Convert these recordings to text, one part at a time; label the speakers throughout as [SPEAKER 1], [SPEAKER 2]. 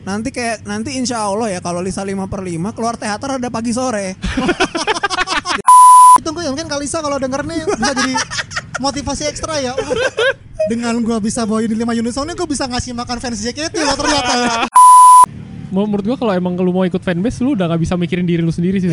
[SPEAKER 1] Nanti kayak nanti insya Allah ya kalau Lisa 5 per 5 keluar teater ada pagi sore.
[SPEAKER 2] Itu ya, mungkin mungkin Kalisa kalau denger nih bisa jadi motivasi ekstra ya. Wah, dengan gua bisa bawain di 5 unit soalnya gua bisa ngasih makan fans JKT loh ternyata. ya.
[SPEAKER 3] Mau- Menurut gua kalau emang lu mau ikut fanbase lu udah nggak bisa mikirin diri lu sendiri sih.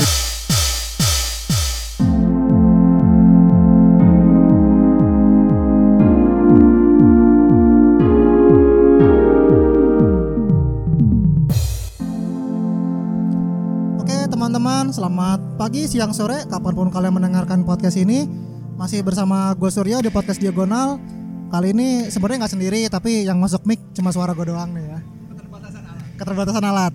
[SPEAKER 2] Oke teman-teman, selamat pagi, siang, sore, kapanpun kalian mendengarkan podcast ini Masih bersama gue Suryo di podcast Diagonal Kali ini sebenarnya nggak sendiri, tapi yang masuk mic cuma suara gue doang nih ya Keterbatasan alat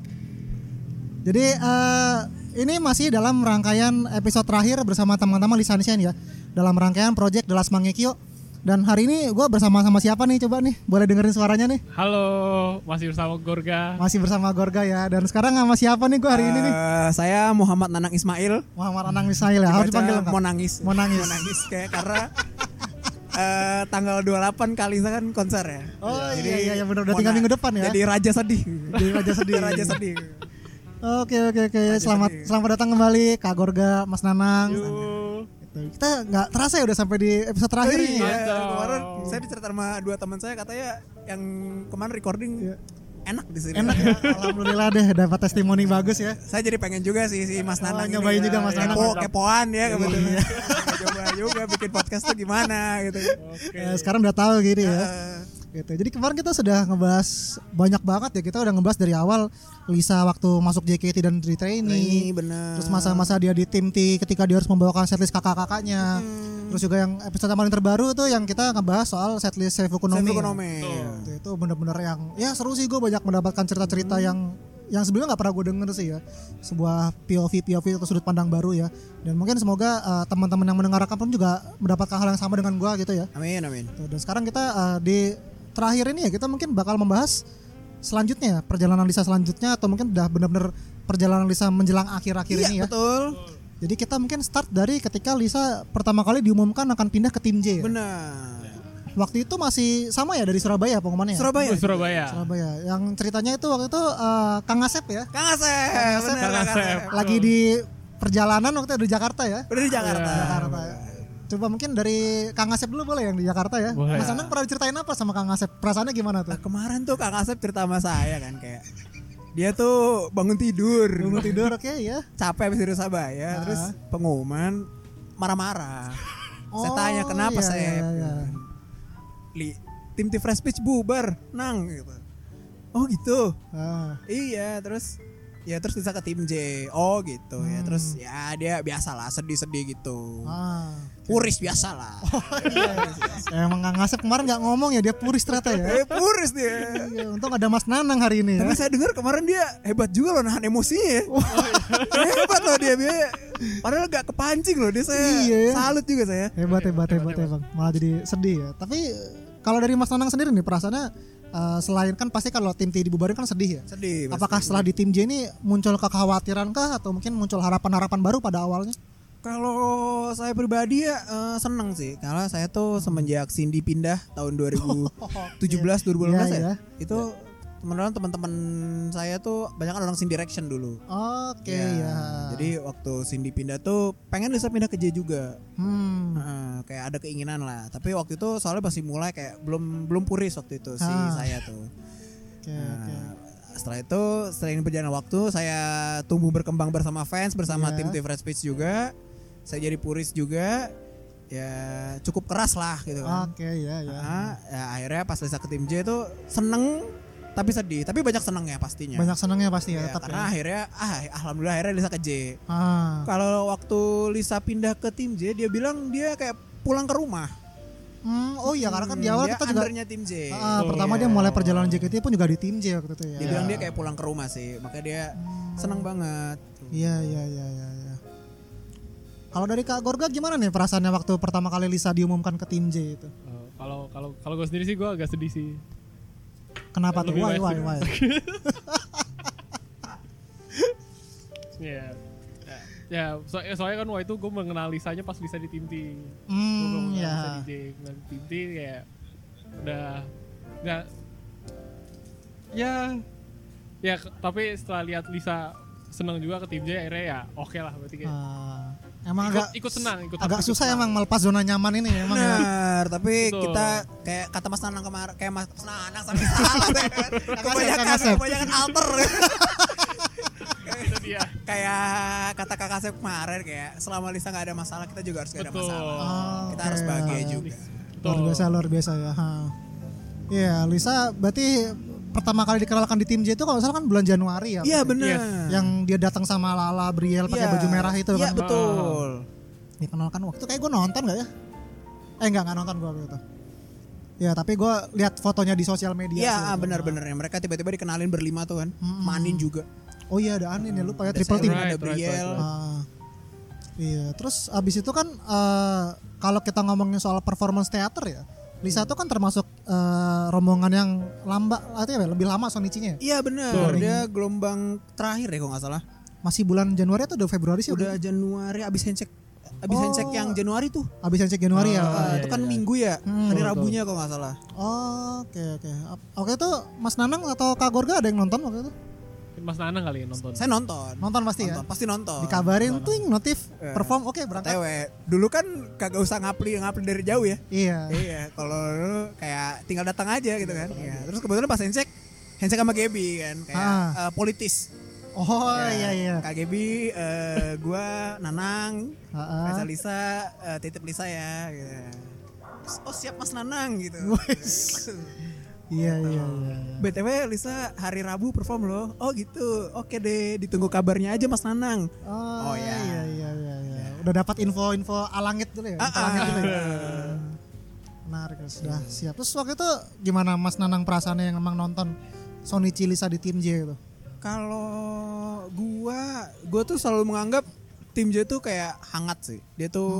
[SPEAKER 2] Jadi eh, ini masih dalam rangkaian episode terakhir bersama teman-teman di Sunshine ya Dalam rangkaian project The Last Mangekyo Dan hari ini gue bersama sama siapa nih coba nih, boleh dengerin suaranya nih
[SPEAKER 3] Halo, masih bersama Gorga.
[SPEAKER 2] Masih bersama Gorga ya, dan sekarang sama siapa nih gue hari ini nih
[SPEAKER 1] Eh, saya Muhammad Nanang Ismail.
[SPEAKER 2] Muhammad Anang Misail ya,
[SPEAKER 1] Dibaca
[SPEAKER 2] harus dipanggil lengkap.
[SPEAKER 1] mau nangis.
[SPEAKER 2] Mau nangis.
[SPEAKER 1] Mau nangis kayak karena eh, tanggal 28 kali kan konser ya.
[SPEAKER 2] Oh
[SPEAKER 1] Jadi,
[SPEAKER 2] iya iya, iya benar udah
[SPEAKER 1] mau
[SPEAKER 2] tiga
[SPEAKER 1] na-
[SPEAKER 2] minggu depan ya.
[SPEAKER 1] Jadi raja sedih.
[SPEAKER 2] Jadi raja sedih.
[SPEAKER 1] raja sedih.
[SPEAKER 2] Oke oke oke selamat
[SPEAKER 1] sedih.
[SPEAKER 2] selamat datang kembali Kak Gorga, Mas Nanang. Gitu. Kita nggak terasa ya udah sampai di episode terakhir nih.
[SPEAKER 1] Iya,
[SPEAKER 3] mantap.
[SPEAKER 1] kemarin saya dicerita sama dua teman saya katanya yang kemarin recording enak di sini.
[SPEAKER 2] Iya. Enak ya, alhamdulillah deh dapat testimoni bagus ya.
[SPEAKER 1] Saya jadi pengen juga sih si Mas Nanang ini.
[SPEAKER 2] Oh, nyobain juga Mas
[SPEAKER 1] Kepo-
[SPEAKER 2] Nanang. Iya.
[SPEAKER 1] kepoan ya kebetulan. Pengen Coba juga bikin podcast tuh gimana gitu.
[SPEAKER 2] Ya, sekarang udah tahu gitu ya.
[SPEAKER 1] Eh,
[SPEAKER 2] Gitu. Jadi kemarin kita sudah ngebahas banyak banget ya. Kita udah ngebahas dari awal Lisa waktu masuk JKT dan di
[SPEAKER 1] ini
[SPEAKER 2] trainee.
[SPEAKER 1] benar.
[SPEAKER 2] Terus masa-masa dia di tim T ketika dia harus membawakan setlist kakak-kakaknya.
[SPEAKER 1] Hmm.
[SPEAKER 2] Terus juga yang episode kemarin terbaru tuh yang kita ngebahas soal setlist
[SPEAKER 1] ekonomi.
[SPEAKER 2] Seifukunomi.
[SPEAKER 1] ekonomi.
[SPEAKER 2] itu itu bener-bener yang ya seru sih gue banyak mendapatkan cerita-cerita
[SPEAKER 1] Hmm.
[SPEAKER 2] yang yang sebelumnya nggak pernah gue denger sih ya sebuah POV POV atau sudut pandang baru ya dan mungkin semoga eh, teman-teman yang mendengarkan pun juga mendapatkan hal yang sama dengan gue gitu ya
[SPEAKER 1] Amin amin.
[SPEAKER 2] Tuh, dan sekarang kita eh, di terakhir ini ya kita mungkin bakal membahas selanjutnya perjalanan Lisa selanjutnya atau mungkin udah bener-bener perjalanan Lisa menjelang akhir-akhir
[SPEAKER 1] Iya
[SPEAKER 2] ini ya
[SPEAKER 1] betul.
[SPEAKER 2] jadi kita mungkin start dari ketika Lisa pertama kali diumumkan akan pindah ke tim J ya.
[SPEAKER 1] Benar.
[SPEAKER 2] waktu itu masih sama ya dari Surabaya pengumumannya ya?
[SPEAKER 1] Surabaya.
[SPEAKER 3] Gua Surabaya.
[SPEAKER 2] Surabaya. Yang ceritanya itu waktu itu eh, Kang Asep ya, Eh,
[SPEAKER 1] Kang Asep. Benar
[SPEAKER 3] Kang
[SPEAKER 1] Kang
[SPEAKER 3] Asep.
[SPEAKER 1] Asep. Eh,
[SPEAKER 2] lagi di perjalanan waktu itu di Jakarta ya.
[SPEAKER 1] Udah di Jakarta.
[SPEAKER 2] Jakarta. ya. Coba mungkin dari Kang Asep dulu boleh yang di Jakarta ya.
[SPEAKER 3] Boleh.
[SPEAKER 2] Mas Anang pernah diceritain apa sama Kang Asep? Perasaannya gimana tuh?
[SPEAKER 1] Nah, kemarin tuh Kang Asep cerita sama saya kan kayak dia tuh bangun tidur.
[SPEAKER 2] Bangun tidur oke ya.
[SPEAKER 1] capek habis dari Surabaya
[SPEAKER 2] Ah.
[SPEAKER 1] terus pengumuman marah-marah saya
[SPEAKER 2] Oh,
[SPEAKER 1] tanya kenapa
[SPEAKER 2] iya,
[SPEAKER 1] saya
[SPEAKER 2] iya, iya.
[SPEAKER 1] li tim tim fresh pitch bubar nang gitu oh gitu
[SPEAKER 2] Ah,
[SPEAKER 1] iya terus ya terus bisa ke tim J oh gitu ya
[SPEAKER 2] Hmm.
[SPEAKER 1] terus ya dia biasalah sedih-sedih gitu
[SPEAKER 2] ah.
[SPEAKER 1] puris biasalah
[SPEAKER 2] Oh, Emang Kang Asep kemarin nggak ngomong ya dia puris ternyata ya.
[SPEAKER 1] eh puris dia
[SPEAKER 2] Iya, Untung ada Mas Nanang hari ini ya.
[SPEAKER 1] tapi saya dengar kemarin dia hebat juga loh nahan emosinya ya.
[SPEAKER 2] Oh, iya.
[SPEAKER 1] hebat loh dia dia padahal gak kepancing loh dia saya
[SPEAKER 2] Iya ya.
[SPEAKER 1] salut juga saya
[SPEAKER 2] hebat hebat hebat hebat malah jadi sedih ya tapi kalau dari Mas Nanang sendiri nih perasaannya eh, selain kan pasti kalau tim T dibubarin kan sedih ya
[SPEAKER 1] sedih pasti.
[SPEAKER 2] apakah setelah di tim J ini muncul kekhawatiran kah atau mungkin muncul harapan-harapan baru pada awalnya
[SPEAKER 1] Kalau saya pribadi ya eh, seneng sih karena saya
[SPEAKER 2] Hmm.
[SPEAKER 1] tuh semenjak Cindy pindah tahun 2017 2018 ya.
[SPEAKER 2] Iya, Oh, iya.
[SPEAKER 1] Itu teman-teman teman-teman saya tuh banyak kan orang Cindy Direction dulu.
[SPEAKER 2] oke
[SPEAKER 1] Ya,
[SPEAKER 2] ya
[SPEAKER 1] Jadi waktu Cindy pindah tuh pengen Lisa pindah ke J juga.
[SPEAKER 2] hmm
[SPEAKER 1] Heeh, kayak ada keinginan lah. Tapi waktu itu soalnya masih mulai kayak belum belum puris waktu itu si
[SPEAKER 2] Ah.
[SPEAKER 1] saya tuh.
[SPEAKER 2] oke oke
[SPEAKER 1] Nah, setelah itu selain perjalanan waktu saya tumbuh berkembang bersama fans bersama
[SPEAKER 2] Iya.
[SPEAKER 1] tim tim Fresh Pitch juga saya jadi puris juga ya cukup keras lah gitu kan
[SPEAKER 2] oke ya ya
[SPEAKER 1] Nah, ya, akhirnya pas Lisa ke tim J itu seneng tapi sedih tapi banyak senengnya pastinya
[SPEAKER 2] banyak senangnya pasti ya,
[SPEAKER 1] Ya, iya.
[SPEAKER 2] tetap
[SPEAKER 1] karena
[SPEAKER 2] ya
[SPEAKER 1] akhirnya ah alhamdulillah akhirnya Lisa ke J
[SPEAKER 2] ah
[SPEAKER 1] kalau waktu Lisa pindah ke tim J dia bilang dia kayak pulang ke rumah
[SPEAKER 2] Hmm, oh iya karena kan di
[SPEAKER 1] Hmm,
[SPEAKER 2] awal
[SPEAKER 1] dia
[SPEAKER 2] kita juga
[SPEAKER 1] undernya tim J
[SPEAKER 2] Ah, pertama dia mulai perjalanan JKT pun juga di tim J waktu itu ya
[SPEAKER 1] dia bilang dia kayak pulang ke rumah sih makanya dia
[SPEAKER 2] Hmm.
[SPEAKER 1] seneng banget
[SPEAKER 2] Iya iya iya iya. iya. Kalau dari Kak Gorga gimana nih perasaannya waktu pertama kali Lisa diumumkan ke tim J itu?
[SPEAKER 3] Eh, Kalau kalau kalau gue sendiri sih gue agak sedih sih.
[SPEAKER 2] Kenapa tuh?
[SPEAKER 3] Lebih
[SPEAKER 2] Why
[SPEAKER 3] baik sih.
[SPEAKER 2] why why?
[SPEAKER 3] Iya. Ya, Ya, so- ya, soalnya kan waktu itu gue mengenal Lisanya pas Lisa di tim T. Gua belum
[SPEAKER 2] Hmm
[SPEAKER 3] kenal
[SPEAKER 2] ya.
[SPEAKER 3] Lisa di J- dan tim T kayak udah nggak ya ya ke- tapi setelah lihat Lisa senang juga ke tim J akhirnya ya oke lah berarti kayak
[SPEAKER 2] Ah, emang
[SPEAKER 3] ikut,
[SPEAKER 2] agak
[SPEAKER 3] ikut senang ikut
[SPEAKER 2] agak
[SPEAKER 3] ikut
[SPEAKER 2] susah
[SPEAKER 3] senang.
[SPEAKER 2] emang melepas zona nyaman ini emang ya.
[SPEAKER 1] Benar, tapi
[SPEAKER 3] Betul.
[SPEAKER 1] kita kayak kata Mas Nanang kemarin, kayak Mas Mas Nanang sampai salah saya kan. Kebanyakan
[SPEAKER 2] Kang Asep.
[SPEAKER 1] kebanyakan alter.
[SPEAKER 3] itu dia
[SPEAKER 1] kayak kata Kakak saya kemarin kayak selama Lisa nggak ada masalah, kita juga harus nggak ada
[SPEAKER 3] Betul. Iya,
[SPEAKER 1] masalah.
[SPEAKER 2] Oh,
[SPEAKER 1] kita
[SPEAKER 2] oke.
[SPEAKER 1] harus bahagia juga.
[SPEAKER 2] Luar biasa luar biasa ya. Ha. Iya, Lisa berarti pertama kali dikenalkan di tim J itu kalau nggak salah kan bulan Januari ya.
[SPEAKER 1] Iya, benar.
[SPEAKER 3] Yes.
[SPEAKER 2] Yang dia datang sama Lala Briel pakai
[SPEAKER 1] Iya.
[SPEAKER 2] baju merah itu
[SPEAKER 1] Iya,
[SPEAKER 2] kan.
[SPEAKER 1] betul.
[SPEAKER 2] Dikenalkan waktu kayak gue nonton gak ya? Eh enggak enggak nonton gue waktu itu. Ya, tapi gue lihat fotonya di sosial media.
[SPEAKER 1] Iya,
[SPEAKER 2] sih.
[SPEAKER 1] ah, benar-benar ya. Mereka tiba-tiba dikenalin berlima tuh kan.
[SPEAKER 2] Mm-mm.
[SPEAKER 1] Manin juga.
[SPEAKER 2] Oh iya ada Anin ya lupa ya
[SPEAKER 1] Ada
[SPEAKER 2] triple team.
[SPEAKER 1] Sarah, ada
[SPEAKER 3] Right, right,
[SPEAKER 1] Briel.
[SPEAKER 3] right,
[SPEAKER 2] Ah, iya, terus abis itu kan eh, kalau kita ngomongin soal performance teater ya,
[SPEAKER 1] Hmm.
[SPEAKER 2] Lisa tuh kan termasuk eh, rombongan yang lamba, artinya apa ya, lebih lama Sonichinya. ya?
[SPEAKER 1] Iya benar,
[SPEAKER 3] Betul.
[SPEAKER 1] dia gelombang terakhir ya kalau nggak salah.
[SPEAKER 2] Masih bulan Januari atau udah Februari sih?
[SPEAKER 1] Udah Januari abis handshake abis
[SPEAKER 2] Iya, Oh.
[SPEAKER 1] handshake yang Januari tuh.
[SPEAKER 2] abis yang cek Januari
[SPEAKER 1] Ah,
[SPEAKER 2] ya.
[SPEAKER 3] iya,
[SPEAKER 1] itu
[SPEAKER 3] iya,
[SPEAKER 1] kan
[SPEAKER 3] iya.
[SPEAKER 1] Minggu ya,
[SPEAKER 2] Hmm.
[SPEAKER 1] hari
[SPEAKER 3] Betul,
[SPEAKER 1] Rabunya kalau nggak salah.
[SPEAKER 2] Oh, Oke oke. Ap- Oke tuh Mas Nanang atau Kak Gorga ada yang nonton waktu itu?
[SPEAKER 3] Mas Nanang kali yang nonton
[SPEAKER 1] Saya nonton.
[SPEAKER 2] Nonton pasti ya.
[SPEAKER 1] Nonton, pasti nonton.
[SPEAKER 2] Dikabarin tuh notif
[SPEAKER 1] Iya.
[SPEAKER 2] perform oke berangkat.
[SPEAKER 1] TW. Dulu kan kagak usah ngapli ngapli dari jauh ya.
[SPEAKER 2] Iya.
[SPEAKER 1] iya, kalau dulu kayak tinggal datang aja gitu kan. Iya. Terus kebetulan pas handshake handshake sama Gaby kan kayak
[SPEAKER 2] Ah.
[SPEAKER 1] eh, politis.
[SPEAKER 2] Oh
[SPEAKER 1] Ya,
[SPEAKER 2] iya iya.
[SPEAKER 1] Kak Gaby, eh, gua Nanang,
[SPEAKER 2] Ah, ah.
[SPEAKER 1] Reza Lisa, eh, titip Lisa ya gitu. Terus, Oh siap Mas Nanang gitu.
[SPEAKER 2] Iya iya iya. iya.
[SPEAKER 1] BTW Lisa hari Rabu perform loh. Oh gitu. Oke deh, ditunggu kabarnya aja Mas Nanang.
[SPEAKER 2] Oh,
[SPEAKER 1] Oh,
[SPEAKER 2] iya.
[SPEAKER 1] iya.
[SPEAKER 2] iya iya iya iya. Udah dapat info-info alangit dulu ya.
[SPEAKER 1] Ah,
[SPEAKER 2] info alangit
[SPEAKER 1] ah. Iya.
[SPEAKER 2] dulu ya. Menarik sudah siap. Terus waktu itu gimana Mas Nanang perasaannya yang emang nonton Sony Cilisa di tim J gitu?
[SPEAKER 1] Kalau gua gua tuh selalu menganggap tim J tuh kayak hangat sih. Dia
[SPEAKER 2] Hmm.
[SPEAKER 1] tuh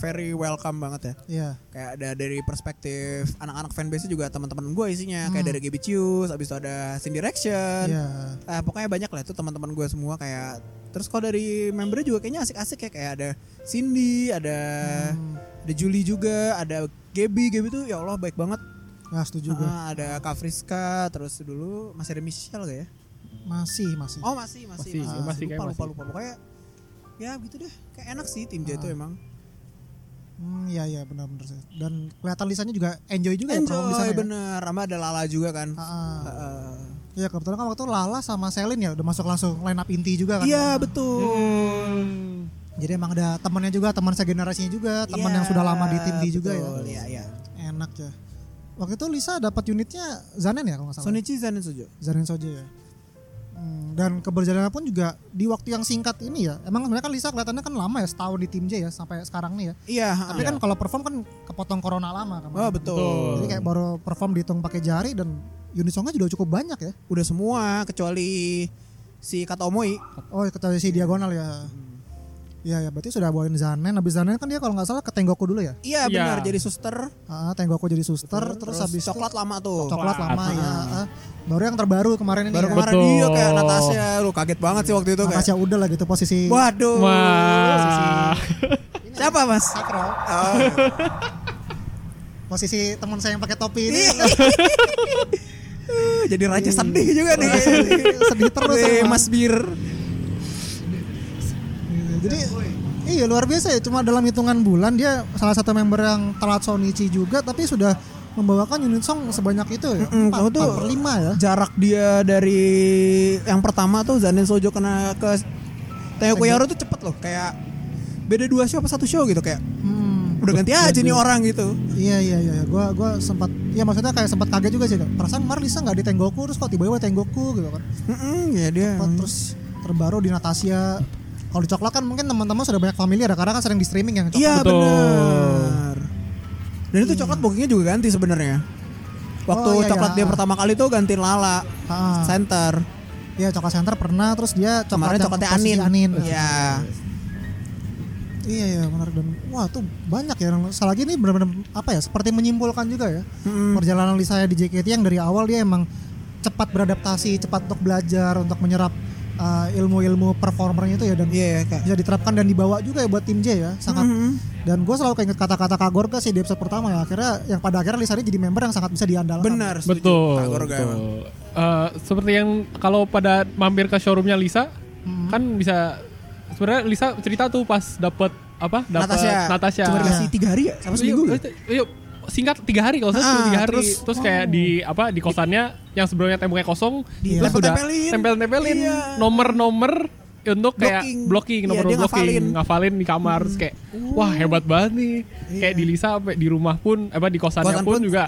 [SPEAKER 1] very welcome banget ya.
[SPEAKER 2] Iya.
[SPEAKER 1] Kayak ada dari perspektif anak-anak fanbase juga teman-teman gua isinya kayak
[SPEAKER 2] Hmm.
[SPEAKER 1] dari GB Cius, abis itu ada Sin Direction.
[SPEAKER 2] Iya.
[SPEAKER 1] Eh, pokoknya banyak lah itu teman-teman gua semua kayak terus kalau dari membernya juga kayaknya asik-asik ya kayak ada Cindy, ada eh.
[SPEAKER 2] Hmm.
[SPEAKER 1] ada Julie juga, ada Gaby, Gaby tuh ya Allah baik banget.
[SPEAKER 2] Ya setuju gue.
[SPEAKER 1] Ah, ada Kak Friska, terus dulu masih ada Michelle gak ya?
[SPEAKER 2] Masih masih.
[SPEAKER 1] Oh masih masih
[SPEAKER 3] Masih,
[SPEAKER 1] masih,
[SPEAKER 3] masih,
[SPEAKER 1] lupa,
[SPEAKER 3] kayak
[SPEAKER 1] lupa,
[SPEAKER 3] masih.
[SPEAKER 1] lupa pokoknya ya gitu deh kayak enak sih tim J itu
[SPEAKER 2] Ah.
[SPEAKER 1] emang
[SPEAKER 2] Hmm, iya iya benar-benar sih. Dan kelihatan Lisanya juga enjoy juga ya perform di sana
[SPEAKER 1] enjoy
[SPEAKER 2] ya.
[SPEAKER 1] bener sama ada Lala juga kan
[SPEAKER 2] Ah, ah.
[SPEAKER 1] Heeh.
[SPEAKER 2] Iya kebetulan kan waktu itu Lala sama Selin ya udah masuk langsung line up inti juga kan.
[SPEAKER 1] iya
[SPEAKER 2] Hmm.
[SPEAKER 1] betul
[SPEAKER 2] Jadi emang ada temannya juga, teman segenerasinya juga, teman
[SPEAKER 1] Iya,
[SPEAKER 2] yang sudah lama di tim J juga ya.
[SPEAKER 1] betul. iya iya
[SPEAKER 2] Enak ya. Waktu itu Lisa dapat unitnya Zanen ya kalau nggak salah.
[SPEAKER 1] Sonichi Zanin Sujo
[SPEAKER 2] Zanen Sojo ya. Hmm, dan keberjalanan pun juga di waktu yang singkat ini ya. Emang sebenarnya kan Lisa kelihatannya kan lama ya setahun di tim J ya sampai sekarang nih ya.
[SPEAKER 1] iya
[SPEAKER 2] Tapi
[SPEAKER 1] heeh.
[SPEAKER 2] kan kalau perform kan kepotong corona lama kan.
[SPEAKER 1] oh betul
[SPEAKER 2] Jadi kayak baru perform dihitung pakai jari dan unit songnya juga cukup banyak ya.
[SPEAKER 1] udah semua kecuali si Katomoi
[SPEAKER 2] Oh kecuali si diagonal ya.
[SPEAKER 1] Hmm.
[SPEAKER 2] Iya ya berarti sudah bawain Zanen. Habis Zanen kan dia kalau nggak salah ke Tenggoku dulu ya.
[SPEAKER 1] iya
[SPEAKER 3] Iya.
[SPEAKER 1] benar jadi suster
[SPEAKER 2] Ah, Tenggoku jadi suster terus, habis itu-
[SPEAKER 1] coklat lama tuh
[SPEAKER 2] coklat lama
[SPEAKER 3] Coklat.
[SPEAKER 2] ya. ah. baru yang terbaru kemarin ini.
[SPEAKER 1] baru
[SPEAKER 2] ya.
[SPEAKER 1] kemarin
[SPEAKER 3] Betul.
[SPEAKER 1] dia kayak Natasha lu kaget banget sih waktu itu kayak
[SPEAKER 2] Natasha udah lah gitu posisi
[SPEAKER 1] waduh Iya
[SPEAKER 3] wah
[SPEAKER 1] siapa mas
[SPEAKER 2] sakral.
[SPEAKER 1] Oh.
[SPEAKER 2] Posisi teman saya yang pakai topi ini
[SPEAKER 1] Iya. jadi raja sedih juga nih
[SPEAKER 2] sedih terus
[SPEAKER 1] Nih,
[SPEAKER 2] emang.
[SPEAKER 1] Mas Bir
[SPEAKER 2] Gitu. Jadi iya luar biasa ya cuma dalam hitungan bulan dia salah satu member yang telat Sonichi juga tapi sudah membawakan unit song sebanyak itu ya.
[SPEAKER 1] Mm-mm, kamu tuh-
[SPEAKER 2] empat per lima ya.
[SPEAKER 1] jarak dia dari yang pertama tuh Zanin Sojo kena ke Teo Koyaro tuh cepet loh kayak beda dua show apa satu show gitu kayak
[SPEAKER 2] Hmm.
[SPEAKER 1] udah ganti aja nih orang gitu
[SPEAKER 2] Iya iya iya, iya. gua gua sempat ya maksudnya kayak sempat kaget juga sih. Kak. Perasaan kemarin Lisa nggak di Tenggoku terus kok tiba-tiba Tenggoku gitu kan.
[SPEAKER 1] Mm-mm, ya dia
[SPEAKER 2] Apa, terus terbaru di Natasha kalau di coklat kan mungkin teman-teman sudah banyak familiar ya, karena kan sering di streaming yang coklat
[SPEAKER 1] iya
[SPEAKER 3] Betul.
[SPEAKER 1] benar dan itu coklat bookingnya juga ganti sebenarnya waktu
[SPEAKER 2] Oh, iya,
[SPEAKER 1] coklat
[SPEAKER 2] iya.
[SPEAKER 1] dia pertama kali tuh gantiin Lala
[SPEAKER 2] Ah,
[SPEAKER 1] center
[SPEAKER 2] iya coklat center pernah terus dia coklat
[SPEAKER 1] kemarin
[SPEAKER 2] yang
[SPEAKER 1] coklatnya
[SPEAKER 2] posisi
[SPEAKER 1] Anin
[SPEAKER 2] Nah,
[SPEAKER 1] ya
[SPEAKER 2] iya iya benar dan wah tuh banyak ya salah lagi ini benar-benar apa ya seperti menyimpulkan juga ya
[SPEAKER 1] Hmm.
[SPEAKER 2] perjalanan Lisa di JKT yang dari awal dia emang cepat beradaptasi cepat untuk belajar untuk menyerap uh, ilmu-ilmu performernya itu ya dan
[SPEAKER 1] iya ya kayak
[SPEAKER 2] bisa diterapkan dan dibawa juga ya buat tim J ya sangat
[SPEAKER 1] Mhm.
[SPEAKER 2] Dan gue selalu keinget kata-kata Kak Gorga sih di episode pertama ya. Akhirnya yang pada akhirnya Lisa ini jadi member yang sangat bisa diandalkan.
[SPEAKER 1] Benar, setuju.
[SPEAKER 3] Betul.
[SPEAKER 1] Kak Gorga
[SPEAKER 3] betul.
[SPEAKER 1] emang.
[SPEAKER 3] Eh, seperti yang kalau pada mampir ke showroomnya Lisa,
[SPEAKER 1] Hmm.
[SPEAKER 3] kan bisa sebenarnya Lisa cerita tuh pas dapat apa? Dapat
[SPEAKER 1] Natasha.
[SPEAKER 3] Natasha.
[SPEAKER 1] Cuma dikasih tiga hari ya? Sama
[SPEAKER 3] Iya,
[SPEAKER 1] seminggu ya?
[SPEAKER 3] iya, iya, singkat tiga hari kalau saya
[SPEAKER 1] Ah,
[SPEAKER 3] tiga hari.
[SPEAKER 1] terus-
[SPEAKER 3] Terus, kayak
[SPEAKER 1] wow.
[SPEAKER 3] di apa di kosannya yang sebelumnya temboknya kosong,
[SPEAKER 1] Di-
[SPEAKER 3] terus udah
[SPEAKER 1] tempel-tempelin.
[SPEAKER 3] tempel-tempelin
[SPEAKER 1] Iya.
[SPEAKER 3] nomor-nomor untuk kayak
[SPEAKER 1] Blocking.
[SPEAKER 3] blocking,
[SPEAKER 1] Iya,
[SPEAKER 3] nomor
[SPEAKER 1] dia ngafalin. Hmm. Oh.
[SPEAKER 3] blocking, ngafalin di kamar terus kayak wah hebat banget nih. Kayak di Lisa sampai di rumah pun apa di kosannya
[SPEAKER 1] Kosan Iya.
[SPEAKER 3] pun,
[SPEAKER 1] pun- Ah.
[SPEAKER 3] juga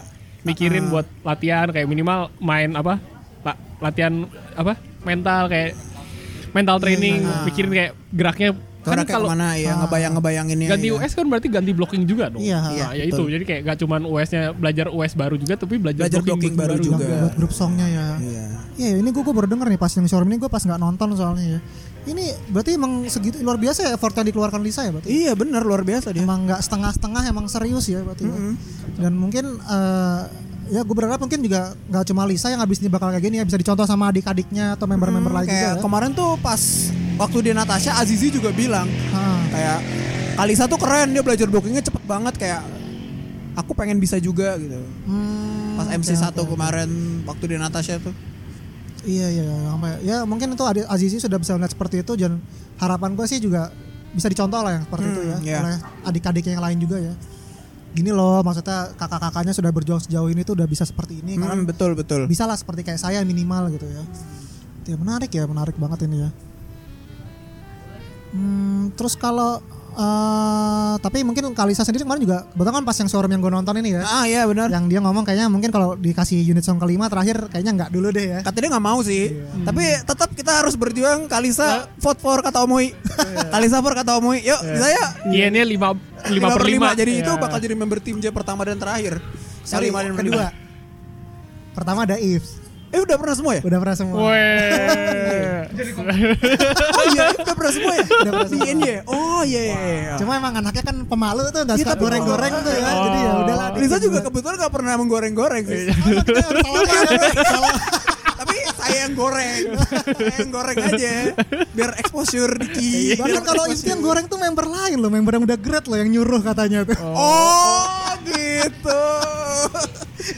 [SPEAKER 3] mikirin buat latihan kayak minimal main apa? la- latihan apa? mental kayak
[SPEAKER 1] Iya.
[SPEAKER 3] mental training,
[SPEAKER 1] Ah.
[SPEAKER 3] mikirin kayak geraknya
[SPEAKER 1] Karena
[SPEAKER 3] kan
[SPEAKER 1] kayak
[SPEAKER 3] kalau
[SPEAKER 1] kemana ya ngebayang-ngebayanginnya.
[SPEAKER 3] ganti
[SPEAKER 1] ya.
[SPEAKER 3] US kan berarti ganti blocking juga dong.
[SPEAKER 2] Iya.
[SPEAKER 3] Nah,
[SPEAKER 1] Iya,
[SPEAKER 3] ya itu.
[SPEAKER 1] betul.
[SPEAKER 3] Jadi kayak gak cuman US-nya belajar US baru juga tapi belajar,
[SPEAKER 1] Belajar blocking baru
[SPEAKER 2] Yang
[SPEAKER 1] juga.
[SPEAKER 2] Buat grup songnya ya.
[SPEAKER 1] Iya.
[SPEAKER 2] Iya, ini gue baru denger nih pas yang showroom ini gue pas nggak nonton soalnya ya. Ini berarti emang segitu luar biasa ya effort yang dikeluarkan Lisa ya berarti.
[SPEAKER 1] Iya benar luar biasa dia.
[SPEAKER 2] Emang nggak setengah-setengah, emang serius ya berarti. ya.
[SPEAKER 1] Mm-hmm.
[SPEAKER 2] Dan mungkin eh, ya gue berharap mungkin juga nggak cuma Lisa yang abis ini bakal kayak gini ya bisa dicontoh sama adik-adiknya atau member-member lain juga.
[SPEAKER 1] Hmm, Mm-hmm, Kayak
[SPEAKER 2] ya.
[SPEAKER 1] kemarin tuh pas waktu dia Natasha Azizi juga bilang
[SPEAKER 2] Ah,
[SPEAKER 1] kayak Kalisa tuh keren dia belajar blockingnya cepet banget kayak aku pengen bisa juga gitu.
[SPEAKER 2] hmm,
[SPEAKER 1] Pas MC
[SPEAKER 2] oke,
[SPEAKER 1] satu
[SPEAKER 2] oke.
[SPEAKER 1] kemarin waktu dia Natasha tuh.
[SPEAKER 2] Iya iya iya, apa ya. ya mungkin itu Adi- Azizi sudah bisa melihat seperti itu dan harapan gue sih juga bisa dicontoh lah yang seperti itu ya
[SPEAKER 1] iya.
[SPEAKER 2] oleh adik-adik yang lain juga ya. Gini loh maksudnya kakak-kakaknya sudah berjuang sejauh ini tuh udah bisa seperti ini karena
[SPEAKER 1] Hmm, betul betul.
[SPEAKER 2] bisa lah seperti kayak saya minimal gitu ya. Ya menarik ya menarik banget ini ya. Hmm, terus kalau eh, tapi mungkin Kalisa sendiri kemarin juga kebetulan kan pas yang showroom yang gue nonton ini ya.
[SPEAKER 1] Ah iya benar.
[SPEAKER 2] Yang dia ngomong kayaknya mungkin kalau dikasih unit song kelima terakhir kayaknya nggak dulu deh ya.
[SPEAKER 1] Katanya nggak mau sih, Hmm. tapi tetap kita harus berjuang.
[SPEAKER 2] Iya.
[SPEAKER 1] Kalisa vote for kata Omoi. Kalisa for kata Omoi. Yuk, ya? saya
[SPEAKER 3] Yen-nya 5 5 per Iya. 5.
[SPEAKER 2] Iya.
[SPEAKER 1] Jadi itu bakal jadi member tim J pertama dan terakhir.
[SPEAKER 2] Sorry,
[SPEAKER 1] Kelima dan
[SPEAKER 2] kedua.
[SPEAKER 1] lima.
[SPEAKER 2] Pertama ada Ifs.
[SPEAKER 1] Eh udah pernah semua ya?
[SPEAKER 2] Udah pernah semua.
[SPEAKER 1] Oh iya, udah pernah semua ya? Udah pernah
[SPEAKER 2] semua.
[SPEAKER 1] Oh iya iya iya.
[SPEAKER 2] Cuma emang anaknya kan pemalu tuh udah
[SPEAKER 1] Iya,
[SPEAKER 2] suka
[SPEAKER 1] tapi-
[SPEAKER 2] goreng-goreng tuh ya. Jadi ya udahlah. dikit Iya.
[SPEAKER 1] Lisa juga
[SPEAKER 2] buat-
[SPEAKER 1] kebetulan gak pernah menggoreng-goreng sih.
[SPEAKER 2] Sama, kita harus salaman. Salam.
[SPEAKER 1] Tapi saya yang goreng. saya yang goreng aja. Biar exposure dikit.
[SPEAKER 2] Iya.
[SPEAKER 1] Iya.
[SPEAKER 2] Bahkan
[SPEAKER 1] Biar
[SPEAKER 2] kalau Ifs
[SPEAKER 1] exposure.
[SPEAKER 2] yang goreng tuh member lain loh, member yang udah grade loh yang nyuruh katanya tuh.
[SPEAKER 1] Oh gitu.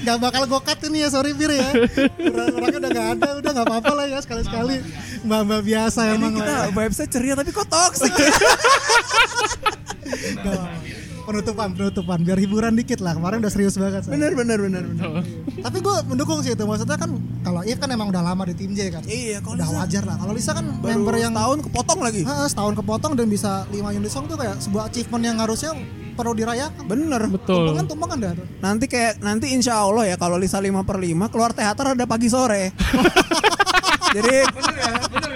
[SPEAKER 2] Gak bakal gokat ini ya, sorry Bir ya. Orang- Orangnya udah gak ada, udah gak apa-apa lah ya sekali-sekali. Mbak-mbak biasa
[SPEAKER 1] Ini
[SPEAKER 2] emang ya?
[SPEAKER 1] kita
[SPEAKER 2] lah.
[SPEAKER 1] vibesnya ceria tapi kok toxic.
[SPEAKER 2] Gak apa-apa. Penutupan, penutupan. Biar hiburan dikit lah. Kemarin udah serius banget. saya.
[SPEAKER 1] bener bener bener bener.
[SPEAKER 2] Tapi gue mendukung sih itu. Maksudnya kan kalau If kan emang udah lama di tim J kan.
[SPEAKER 1] Iya kalau
[SPEAKER 2] udah
[SPEAKER 1] Lisa
[SPEAKER 2] wajar lah. Kalau Lisa kan
[SPEAKER 1] baru
[SPEAKER 2] member yang
[SPEAKER 1] tahun kepotong lagi.
[SPEAKER 2] Ha, setahun kepotong dan bisa 5 unit song tuh kayak sebuah achievement yang harusnya perlu dirayakan.
[SPEAKER 1] Bener.
[SPEAKER 3] Betul.
[SPEAKER 2] Tumpangan-tumpangan dah tuh.
[SPEAKER 1] Nanti kayak nanti insya Allah ya kalau Lisa 5 per 5 keluar teater ada pagi sore. Jadi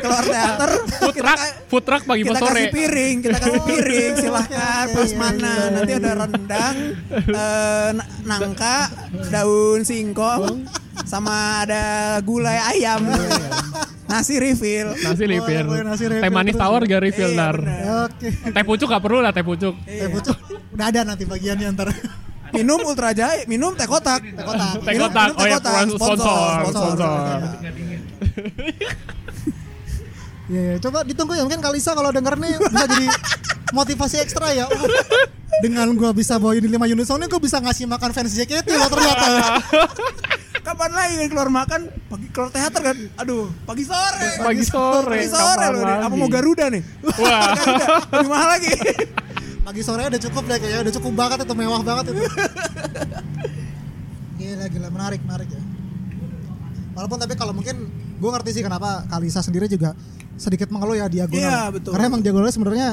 [SPEAKER 1] keluar teater
[SPEAKER 3] Food
[SPEAKER 1] kita,
[SPEAKER 3] truck,
[SPEAKER 1] ka-
[SPEAKER 3] food truck pagi
[SPEAKER 1] kita
[SPEAKER 3] pas sore.
[SPEAKER 1] kasih piring, kita kasih piring silahkan
[SPEAKER 2] oke,
[SPEAKER 1] pas
[SPEAKER 2] iya,
[SPEAKER 1] mana
[SPEAKER 2] iya,
[SPEAKER 1] nanti
[SPEAKER 2] iya.
[SPEAKER 1] ada rendang, eh, na- nangka, daun singkong, sama ada gulai ayam, nasi refill.
[SPEAKER 3] Nasi
[SPEAKER 2] Boleh,
[SPEAKER 3] lipir.
[SPEAKER 2] boleh, nasi refill
[SPEAKER 3] Teh manis
[SPEAKER 2] terus
[SPEAKER 3] tawar
[SPEAKER 2] ya.
[SPEAKER 3] gak refill
[SPEAKER 1] Iya,
[SPEAKER 3] nar.
[SPEAKER 1] bener.
[SPEAKER 2] Oke.
[SPEAKER 3] Teh pucuk gak perlu lah teh pucuk.
[SPEAKER 2] Eh, Pucuk, udah ada nanti bagiannya ntar.
[SPEAKER 1] Minum ultra jahe, minum teh kotak. Teh
[SPEAKER 2] kotak.
[SPEAKER 3] Teh kotak. Oh ya, sponsor, Eh,
[SPEAKER 2] sponsor.
[SPEAKER 3] sponsor.
[SPEAKER 2] Iya, iya. coba ditunggu ya mungkin Kalisa kalau denger nih bisa jadi motivasi ekstra ya. Oh, dengan gua bisa bawain di 5 unit song ini gua bisa ngasih makan fans JKT loh ternyata. ya.
[SPEAKER 1] Kapan lagi kan keluar makan? Pagi keluar teater kan? Aduh, pagi sore.
[SPEAKER 3] Pagi sore.
[SPEAKER 1] Pagi sore
[SPEAKER 3] kapan
[SPEAKER 1] loh nih. Apa
[SPEAKER 3] lagi?
[SPEAKER 1] mau Garuda nih?
[SPEAKER 3] Wah.
[SPEAKER 1] Garuda, lebih mahal lagi.
[SPEAKER 2] Pagi sore udah cukup deh kayaknya udah cukup banget itu mewah banget itu. gila gila menarik menarik ya. Walaupun tapi kalau mungkin gue ngerti sih kenapa Kalisa sendiri juga sedikit mengeluh ya diagonal.
[SPEAKER 1] Iya, betul.
[SPEAKER 2] Karena emang diagonal sebenarnya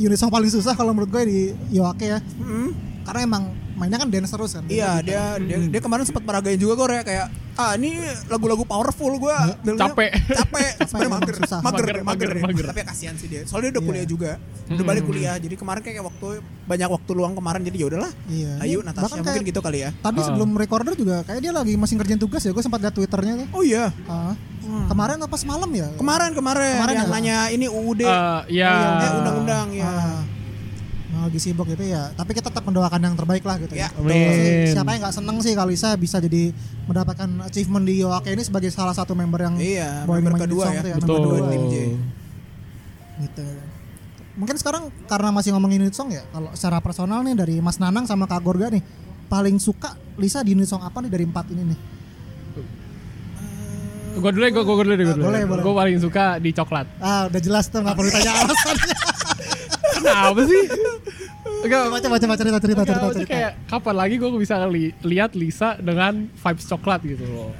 [SPEAKER 2] unit song paling susah kalau menurut gue di Yoake ya.
[SPEAKER 1] Mm,
[SPEAKER 2] Karena emang mainnya kan dance terus kan.
[SPEAKER 1] Iya, dia, dia dia kemarin sempat meragain juga gue Rek. kayak ah ini lagu-lagu powerful gue
[SPEAKER 3] Hmm, Capek.
[SPEAKER 1] capek sebenarnya
[SPEAKER 2] emang
[SPEAKER 1] mager
[SPEAKER 2] susah.
[SPEAKER 1] mager
[SPEAKER 3] Mager,
[SPEAKER 1] dia, dia.
[SPEAKER 3] mager, mager. Iya. Hmm.
[SPEAKER 1] tapi ya kasihan sih dia soalnya dia udah kuliah juga udah balik kuliah jadi kemarin kayak waktu banyak waktu luang kemarin jadi ya udahlah
[SPEAKER 2] Iya.
[SPEAKER 1] ayo
[SPEAKER 2] Ini
[SPEAKER 1] Natasha
[SPEAKER 2] bahkan
[SPEAKER 1] mungkin
[SPEAKER 2] kayak-
[SPEAKER 1] gitu kali ya
[SPEAKER 2] Tadi sebelum recorder juga kayak dia lagi masih ngerjain tugas ya. Gue sempat liat twitternya tuh.
[SPEAKER 1] oh iya
[SPEAKER 2] Ah. Kemarin apa semalam ya?
[SPEAKER 1] kemarin kemarin,
[SPEAKER 2] Kemarin
[SPEAKER 1] yang
[SPEAKER 2] ya?
[SPEAKER 1] nanya ini UUD
[SPEAKER 3] Eh, ya.
[SPEAKER 1] eh, undang-undang ya
[SPEAKER 2] Ah. Nah, lagi sibuk gitu ya. Tapi kita tetap mendoakan yang terbaik lah gitu.
[SPEAKER 1] Ya,
[SPEAKER 2] ya.
[SPEAKER 3] Amin.
[SPEAKER 2] Pasti Siapa yang nggak seneng sih kalau Lisa bisa jadi mendapatkan achievement di Yoake ini sebagai salah satu member ya, yang
[SPEAKER 1] Iya,
[SPEAKER 2] bawain
[SPEAKER 1] member
[SPEAKER 2] main
[SPEAKER 1] kedua
[SPEAKER 2] song
[SPEAKER 1] ya.
[SPEAKER 2] tuh
[SPEAKER 3] Betul.
[SPEAKER 1] Tim J.
[SPEAKER 2] Gitu. mungkin sekarang karena masih ngomongin unit song ya kalau secara personal nih dari Mas Nanang sama Kak Gorga nih paling suka Lisa di unit song apa nih dari empat ini nih
[SPEAKER 3] Gue dulu ya, gue gue dulu deh, gue
[SPEAKER 2] Ah,
[SPEAKER 3] dulu.
[SPEAKER 2] boleh, boleh.
[SPEAKER 3] Gue paling suka di coklat.
[SPEAKER 2] ah udah jelas tuh nggak perlu tanya alasannya
[SPEAKER 3] Kenapa sih? Enggak,
[SPEAKER 2] baca baca baca cerita cerita cerita
[SPEAKER 3] Enggak, maksudnya
[SPEAKER 2] cerita
[SPEAKER 3] kayak kapan lagi gue bisa li- lihat Lisa dengan vibes coklat gitu loh.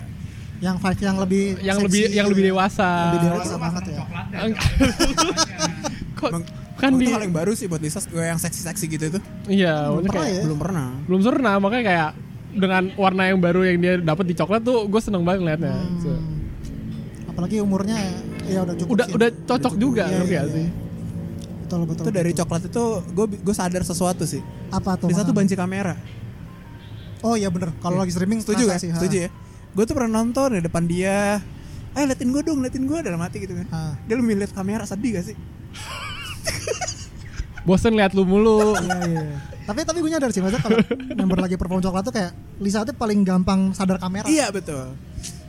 [SPEAKER 2] yang five yang lebih
[SPEAKER 3] Yang
[SPEAKER 2] seksi
[SPEAKER 3] lebih yang
[SPEAKER 2] gitu.
[SPEAKER 3] lebih dewasa.
[SPEAKER 2] lebih dewasa banget ya
[SPEAKER 3] Enggak. Kok
[SPEAKER 1] Emang-
[SPEAKER 3] kan
[SPEAKER 1] emang
[SPEAKER 3] di
[SPEAKER 1] itu hal yang baru sih buat Lisa yang seksi-seksi gitu itu
[SPEAKER 3] iya,
[SPEAKER 2] belum
[SPEAKER 3] maksudnya
[SPEAKER 2] pernah
[SPEAKER 3] kayak
[SPEAKER 2] ya
[SPEAKER 1] belum pernah
[SPEAKER 3] belum pernah makanya kayak dengan warna yang baru yang dia dapat di coklat tuh gue seneng banget ngeliatnya.
[SPEAKER 2] Hmm.
[SPEAKER 3] So,
[SPEAKER 2] apalagi umurnya ya udah cukup
[SPEAKER 3] udah
[SPEAKER 2] sih.
[SPEAKER 3] udah cocok juga
[SPEAKER 2] Iya,
[SPEAKER 3] ngerti
[SPEAKER 2] iya,
[SPEAKER 3] gak
[SPEAKER 2] iya.
[SPEAKER 3] sih?
[SPEAKER 2] betul betul
[SPEAKER 1] itu dari coklat itu gue gue sadar sesuatu sih
[SPEAKER 2] apa tuh
[SPEAKER 1] Lisa tuh
[SPEAKER 2] Mas Nanang?
[SPEAKER 1] banci kamera
[SPEAKER 2] oh iya bener kalau lagi streaming
[SPEAKER 1] setuju
[SPEAKER 2] kerasa
[SPEAKER 1] gak?
[SPEAKER 2] sih, ha.
[SPEAKER 1] setuju ya gue tuh pernah nonton di depan dia eh liatin gue dong liatin gue dalam hati gitu kan
[SPEAKER 2] Ha.
[SPEAKER 1] dia lebih liat kamera sedih gak sih
[SPEAKER 3] Bosen lihat lu mulu.
[SPEAKER 2] Iya, iya. tapi tapi gue nyadar sih maksudnya kalau member lagi perform coklat tuh kayak Lisa tuh paling gampang sadar kamera
[SPEAKER 1] iya betul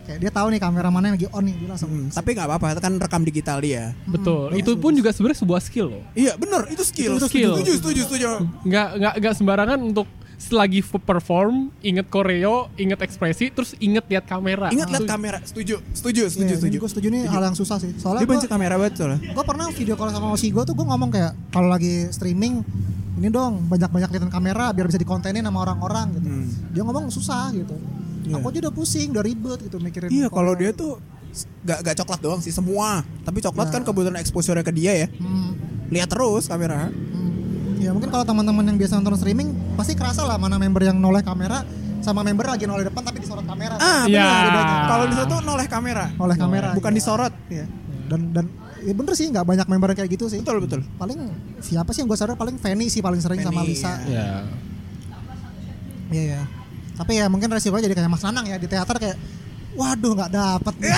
[SPEAKER 2] kayak dia tahu nih kamera mana yang lagi on nih dia langsung
[SPEAKER 1] Hmm, tapi nggak apa-apa itu kan rekam digital dia
[SPEAKER 3] Betul.
[SPEAKER 2] Hmm,
[SPEAKER 3] itu pun juga sebenarnya sebuah skill loh.
[SPEAKER 1] iya bener itu skill
[SPEAKER 3] Itu skill.
[SPEAKER 1] setuju setuju setuju
[SPEAKER 3] nggak nggak nggak sembarangan untuk selagi f- perform inget koreo inget ekspresi terus inget lihat kamera
[SPEAKER 1] ingat liat
[SPEAKER 3] Tuh,
[SPEAKER 1] kamera setuju setuju
[SPEAKER 2] Iya,
[SPEAKER 1] setuju
[SPEAKER 2] ini
[SPEAKER 1] setuju
[SPEAKER 2] gue setuju nih hal yang susah sih
[SPEAKER 1] dia
[SPEAKER 2] soalnya gue
[SPEAKER 1] benci kamera banget soalnya
[SPEAKER 2] gue pernah video call sama Osi gue tuh gue ngomong kayak kalau lagi streaming ini dong banyak-banyak liatin kamera biar bisa dikontenin sama orang-orang gitu
[SPEAKER 1] Hmm.
[SPEAKER 2] dia ngomong susah gitu
[SPEAKER 1] Iya.
[SPEAKER 2] aku aja udah pusing udah ribet gitu mikirin
[SPEAKER 1] Iya kalau
[SPEAKER 2] konten.
[SPEAKER 1] dia tuh gak, gak coklat doang sih semua Tapi coklat
[SPEAKER 2] Nah.
[SPEAKER 1] kan kebetulan exposure ke dia ya
[SPEAKER 2] Hmm,
[SPEAKER 1] Lihat terus kamera
[SPEAKER 2] hmm. ya mungkin kalau teman-teman yang biasa nonton streaming pasti kerasa lah mana member yang noleh kamera sama member lagi noleh depan tapi disorot kamera
[SPEAKER 1] Ah
[SPEAKER 3] Iya.
[SPEAKER 1] benar bedanya. Kalau di satu noleh kamera
[SPEAKER 2] noleh kamera
[SPEAKER 1] Bukan
[SPEAKER 2] iya.
[SPEAKER 1] disorot Eh,
[SPEAKER 2] Iya. dan dan ya bener sih nggak banyak member yang kayak gitu sih
[SPEAKER 1] Betul betul
[SPEAKER 2] paling siapa sih yang gue sadar paling Fanny sih paling sering sama
[SPEAKER 1] Fanny,
[SPEAKER 2] Lisa
[SPEAKER 1] ya.
[SPEAKER 3] ya
[SPEAKER 2] Iya ya. Tapi ya mungkin resikonya jadi kayak Mas Nanang ya di teater kayak waduh nggak dapet nih.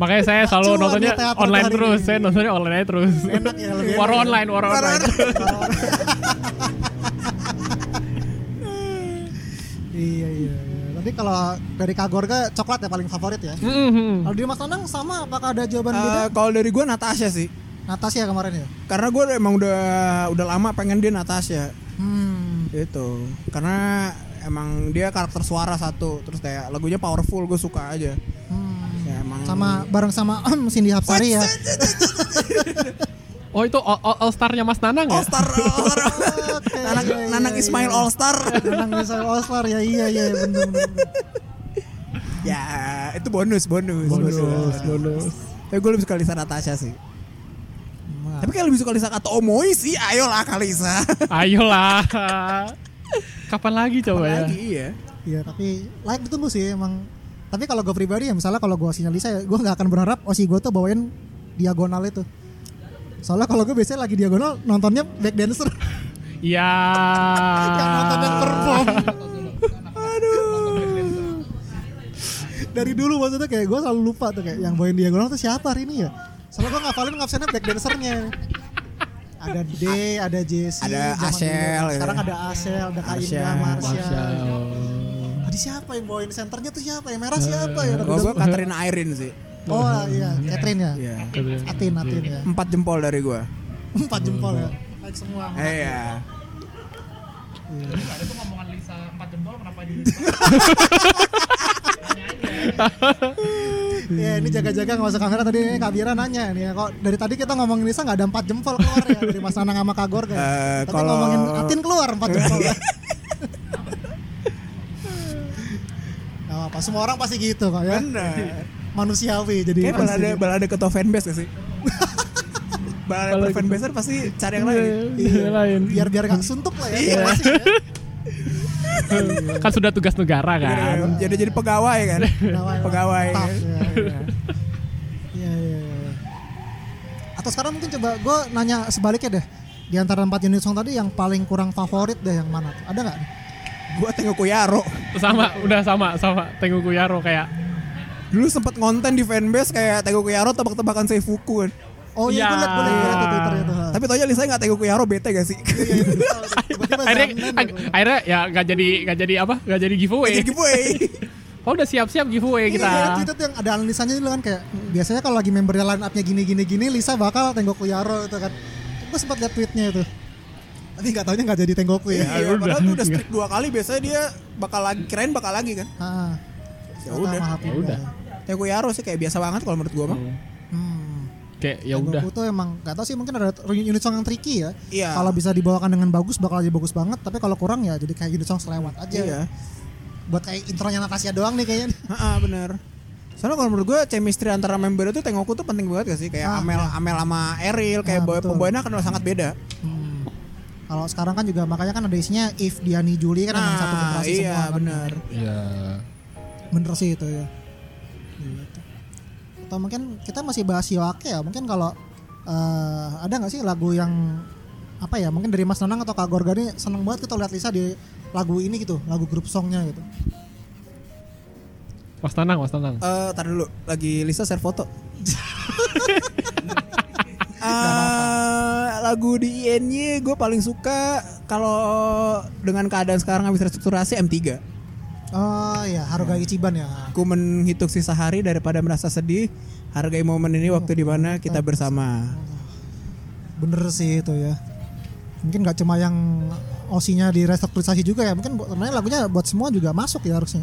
[SPEAKER 3] makanya saya selalu
[SPEAKER 2] Cuan
[SPEAKER 3] nontonnya
[SPEAKER 2] di teater
[SPEAKER 3] online
[SPEAKER 2] hari
[SPEAKER 3] terus
[SPEAKER 2] ini.
[SPEAKER 3] saya nontonnya online aja terus
[SPEAKER 2] Enak ya, lebih
[SPEAKER 3] war
[SPEAKER 2] enak ya.
[SPEAKER 3] online war online
[SPEAKER 2] iya iya. iya. Tapi kalau dari Kak Gorga coklat ya paling favorit ya.
[SPEAKER 3] Mhm.
[SPEAKER 2] Kalau dari Mas Nanang sama apakah ada jawaban beda?
[SPEAKER 1] Eh, Kalau dari gue Natasha sih
[SPEAKER 2] Natasha kemarin ya.
[SPEAKER 1] Karena gue emang udah udah lama pengen dia Natasha
[SPEAKER 2] Hmm.
[SPEAKER 1] Gitu Karena emang dia karakter suara satu Terus kayak lagunya powerful gue suka aja
[SPEAKER 2] hmm.
[SPEAKER 1] Ya emang
[SPEAKER 2] Sama bareng sama Cindy Hapsari ya.
[SPEAKER 3] oh itu all, all, all starnya mas nanang ya
[SPEAKER 1] All Star, All Star.
[SPEAKER 2] Oke,
[SPEAKER 1] Nanang,
[SPEAKER 2] iya, iya,
[SPEAKER 1] Nanang
[SPEAKER 2] iya.
[SPEAKER 1] Ismail All Star
[SPEAKER 2] Nanang Ismail Oslar ya iya iya bener bener. bener.
[SPEAKER 1] Ya itu bonus bonus
[SPEAKER 3] bonus bonus
[SPEAKER 1] Tapi gue lebih suka Lisa Natasha sih.
[SPEAKER 2] Wah.
[SPEAKER 1] Tapi kayak lebih suka Lisa kata Omoi sih. Ayolah Kak Lisa.
[SPEAKER 3] ayolah kapan lagi coba ya
[SPEAKER 1] Lagi iya.
[SPEAKER 2] Iya tapi like ditunggu sih emang. Tapi kalau gue pribadi ya misalnya kalau gue osinya Lisa ya gue nggak akan berharap osi gue tuh bawain diagonal itu. Soalnya kalau gue biasanya lagi diagonal nontonnya back dancer
[SPEAKER 3] ya
[SPEAKER 2] yang nonton yang perform. Aduh. Dari dulu maksudnya kayak gue selalu lupa tuh kayak yang bawain diagonal tuh siapa hari ini ya. Soalnya gue ngafalin ngafsennya back dancernya. Ada D, ada JC,
[SPEAKER 1] Ada
[SPEAKER 2] zaman dulu.
[SPEAKER 1] Asel, ya.
[SPEAKER 2] Sekarang ada Asel, ada Kak Indah,
[SPEAKER 1] Asel.
[SPEAKER 2] Marsial.
[SPEAKER 3] Wow.
[SPEAKER 2] Tadi siapa yang bawain senternya tuh siapa? Yang merah siapa ya?
[SPEAKER 1] Kalau gue Katrina Irene sih.
[SPEAKER 2] Oh iya, Catherine ya.
[SPEAKER 1] Iya.
[SPEAKER 2] Atin, Atin ya.
[SPEAKER 1] Empat jempol dari gue.
[SPEAKER 2] Empat jempol ya. Like semua.
[SPEAKER 1] Iya.
[SPEAKER 2] Ya ini jaga-jaga nggak usah kamera tadi ini Kak Bira nanya nih ya. Kok dari tadi kita ngomongin Lisa nggak ada empat jempol keluar ya dari Mas Nanang sama Kak Gorga. ya.
[SPEAKER 1] Eh,
[SPEAKER 2] Tapi
[SPEAKER 1] kalau-
[SPEAKER 2] ngomongin Atin keluar empat jempol. ya. Gak apa-apa, semua orang pasti gitu kok ya.
[SPEAKER 1] Bener.
[SPEAKER 2] Manusiawi jadi
[SPEAKER 1] Kayak
[SPEAKER 2] pasti
[SPEAKER 1] balada
[SPEAKER 2] gitu.
[SPEAKER 1] balada ketua fanbase gak sih? balada per fanbase pasti cari yang lain.
[SPEAKER 3] Iya, lain
[SPEAKER 2] biar biar nggak suntuk lah ya.
[SPEAKER 1] Iya.
[SPEAKER 2] pasti ya.
[SPEAKER 3] kan sudah tugas negara
[SPEAKER 2] Iya,
[SPEAKER 3] kan
[SPEAKER 1] Iya, Jadi jadi pegawai kan. Pegawai. kan?
[SPEAKER 2] Staff, ya, ya. Iya, iya, iya. Atau sekarang mungkin coba gue nanya sebaliknya deh. Di antara empat unit song tadi yang paling kurang favorit deh yang mana? tuh? Ada nggak?
[SPEAKER 1] Gue tengok Yaro.
[SPEAKER 3] sama udah sama sama Tengu Kuyaro kayak
[SPEAKER 1] Dulu sempet ngonten di fanbase kayak tengok Yaro tebak-tebakan Seifuku kan.
[SPEAKER 2] Oh iya, gue liat gue liat di Twitter itu. ha.
[SPEAKER 1] Tapi taunya Lisa nggak tengok Yaro bete gak sih?
[SPEAKER 2] Tiba-tiba
[SPEAKER 3] akhirnya
[SPEAKER 2] Zamnan
[SPEAKER 3] ag-
[SPEAKER 2] gitu.
[SPEAKER 3] akhirnya ya nggak jadi nggak jadi apa nggak jadi giveaway
[SPEAKER 1] Jadi giveaway.
[SPEAKER 3] Oh udah siap-siap giveaway
[SPEAKER 2] Iya, ada
[SPEAKER 3] kita.
[SPEAKER 2] tweet yang ada analisanya dulu kan kayak biasanya kalau lagi membernya line up-nya gini gini gini Lisa bakal tenggok Yaro itu kan. Gue sempat lihat tweetnya itu. Tapi nggak taunya nggak jadi tenggoku ya.
[SPEAKER 1] Iya,
[SPEAKER 3] udah.
[SPEAKER 1] padahal tuh udah strike dua kali biasanya dia bakal lagi kirain bakal lagi kan.
[SPEAKER 2] Ah,
[SPEAKER 1] Ya udah.
[SPEAKER 3] Ya udah.
[SPEAKER 1] Teko Yaro sih kayak biasa banget kalau menurut gua mah.
[SPEAKER 2] Hmm.
[SPEAKER 3] Kayak ya udah.
[SPEAKER 2] Tengoku tuh emang nggak tahu sih mungkin ada unit song yang tricky ya.
[SPEAKER 1] Iya.
[SPEAKER 2] Kalau bisa dibawakan dengan bagus bakal jadi bagus banget. Tapi kalau kurang ya jadi kayak unit song selewat aja.
[SPEAKER 1] Iya.
[SPEAKER 2] Buat kayak intronya Natasha doang nih kayaknya.
[SPEAKER 1] Heeh, bener. Soalnya kalau menurut gua chemistry antara member itu Tengoku tuh penting banget gak sih? Kayak
[SPEAKER 2] Ah,
[SPEAKER 1] Amel Amel sama Eril kayak
[SPEAKER 2] Ah,
[SPEAKER 1] boy
[SPEAKER 2] betul.
[SPEAKER 1] pembawaannya kan sangat beda.
[SPEAKER 2] Hmm. Kalau sekarang kan juga makanya kan ada isinya If, Diani, Juli kan emang satu
[SPEAKER 1] Nah,
[SPEAKER 2] generasi
[SPEAKER 1] iya
[SPEAKER 2] semua. kan.
[SPEAKER 1] bener.
[SPEAKER 3] Iya.
[SPEAKER 2] Bener sih itu ya. Gitu. Atau mungkin kita masih bahas Yoake ya. Mungkin kalau eh, ada nggak sih lagu yang apa ya? Mungkin dari Mas Nanang atau Kak Gorga nih seneng banget kita lihat Lisa di lagu ini gitu, lagu grup songnya gitu.
[SPEAKER 3] Mas Tanang, Mas Tanang.
[SPEAKER 1] Eh, tar dulu. Lagi Lisa share foto. Eh, lagu di INY gue paling suka kalau dengan keadaan sekarang habis restrukturasi M3.
[SPEAKER 2] Oh iya, Haruga Ichiban ya.
[SPEAKER 1] Aku menghitung sisa hari daripada merasa sedih. Hargai momen ini waktu dimana kita bersama.
[SPEAKER 2] Bener sih itu ya. Mungkin nggak cuma yang osinya di restrukturisasi juga ya. Mungkin buat- sebenarnya lagunya buat semua juga masuk ya harusnya.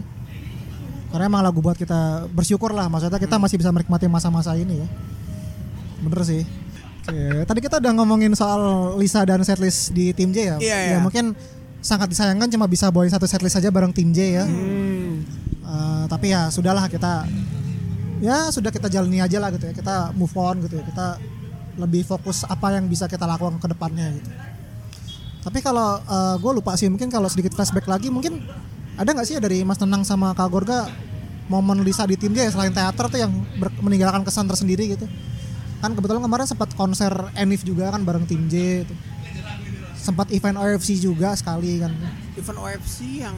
[SPEAKER 2] Karena emang lagu buat kita bersyukur lah. Maksudnya kita masih bisa menikmati masa-masa ini ya. Bener sih. Oke, tadi kita udah ngomongin soal Lisa dan setlist di tim
[SPEAKER 1] Iya,
[SPEAKER 2] J ya. Ya
[SPEAKER 1] iya.
[SPEAKER 2] mungkin sangat disayangkan cuma bisa bawain satu setlist aja bareng tim J ya.
[SPEAKER 1] Hmm.
[SPEAKER 2] Eh, tapi ya sudahlah kita ya sudah kita jalani aja lah gitu ya kita move on gitu ya kita lebih fokus apa yang bisa kita lakukan ke depannya gitu tapi kalau gue lupa sih mungkin kalau sedikit flashback lagi mungkin ada nggak sih dari Mas Tenang sama Kak Gorga momen Lisa di tim dia ya, selain teater tuh yang ber- meninggalkan kesan tersendiri gitu kan kebetulan kemarin sempat konser Enif juga kan bareng tim J gitu. sempat event OFC juga sekali kan
[SPEAKER 1] Event OFC yang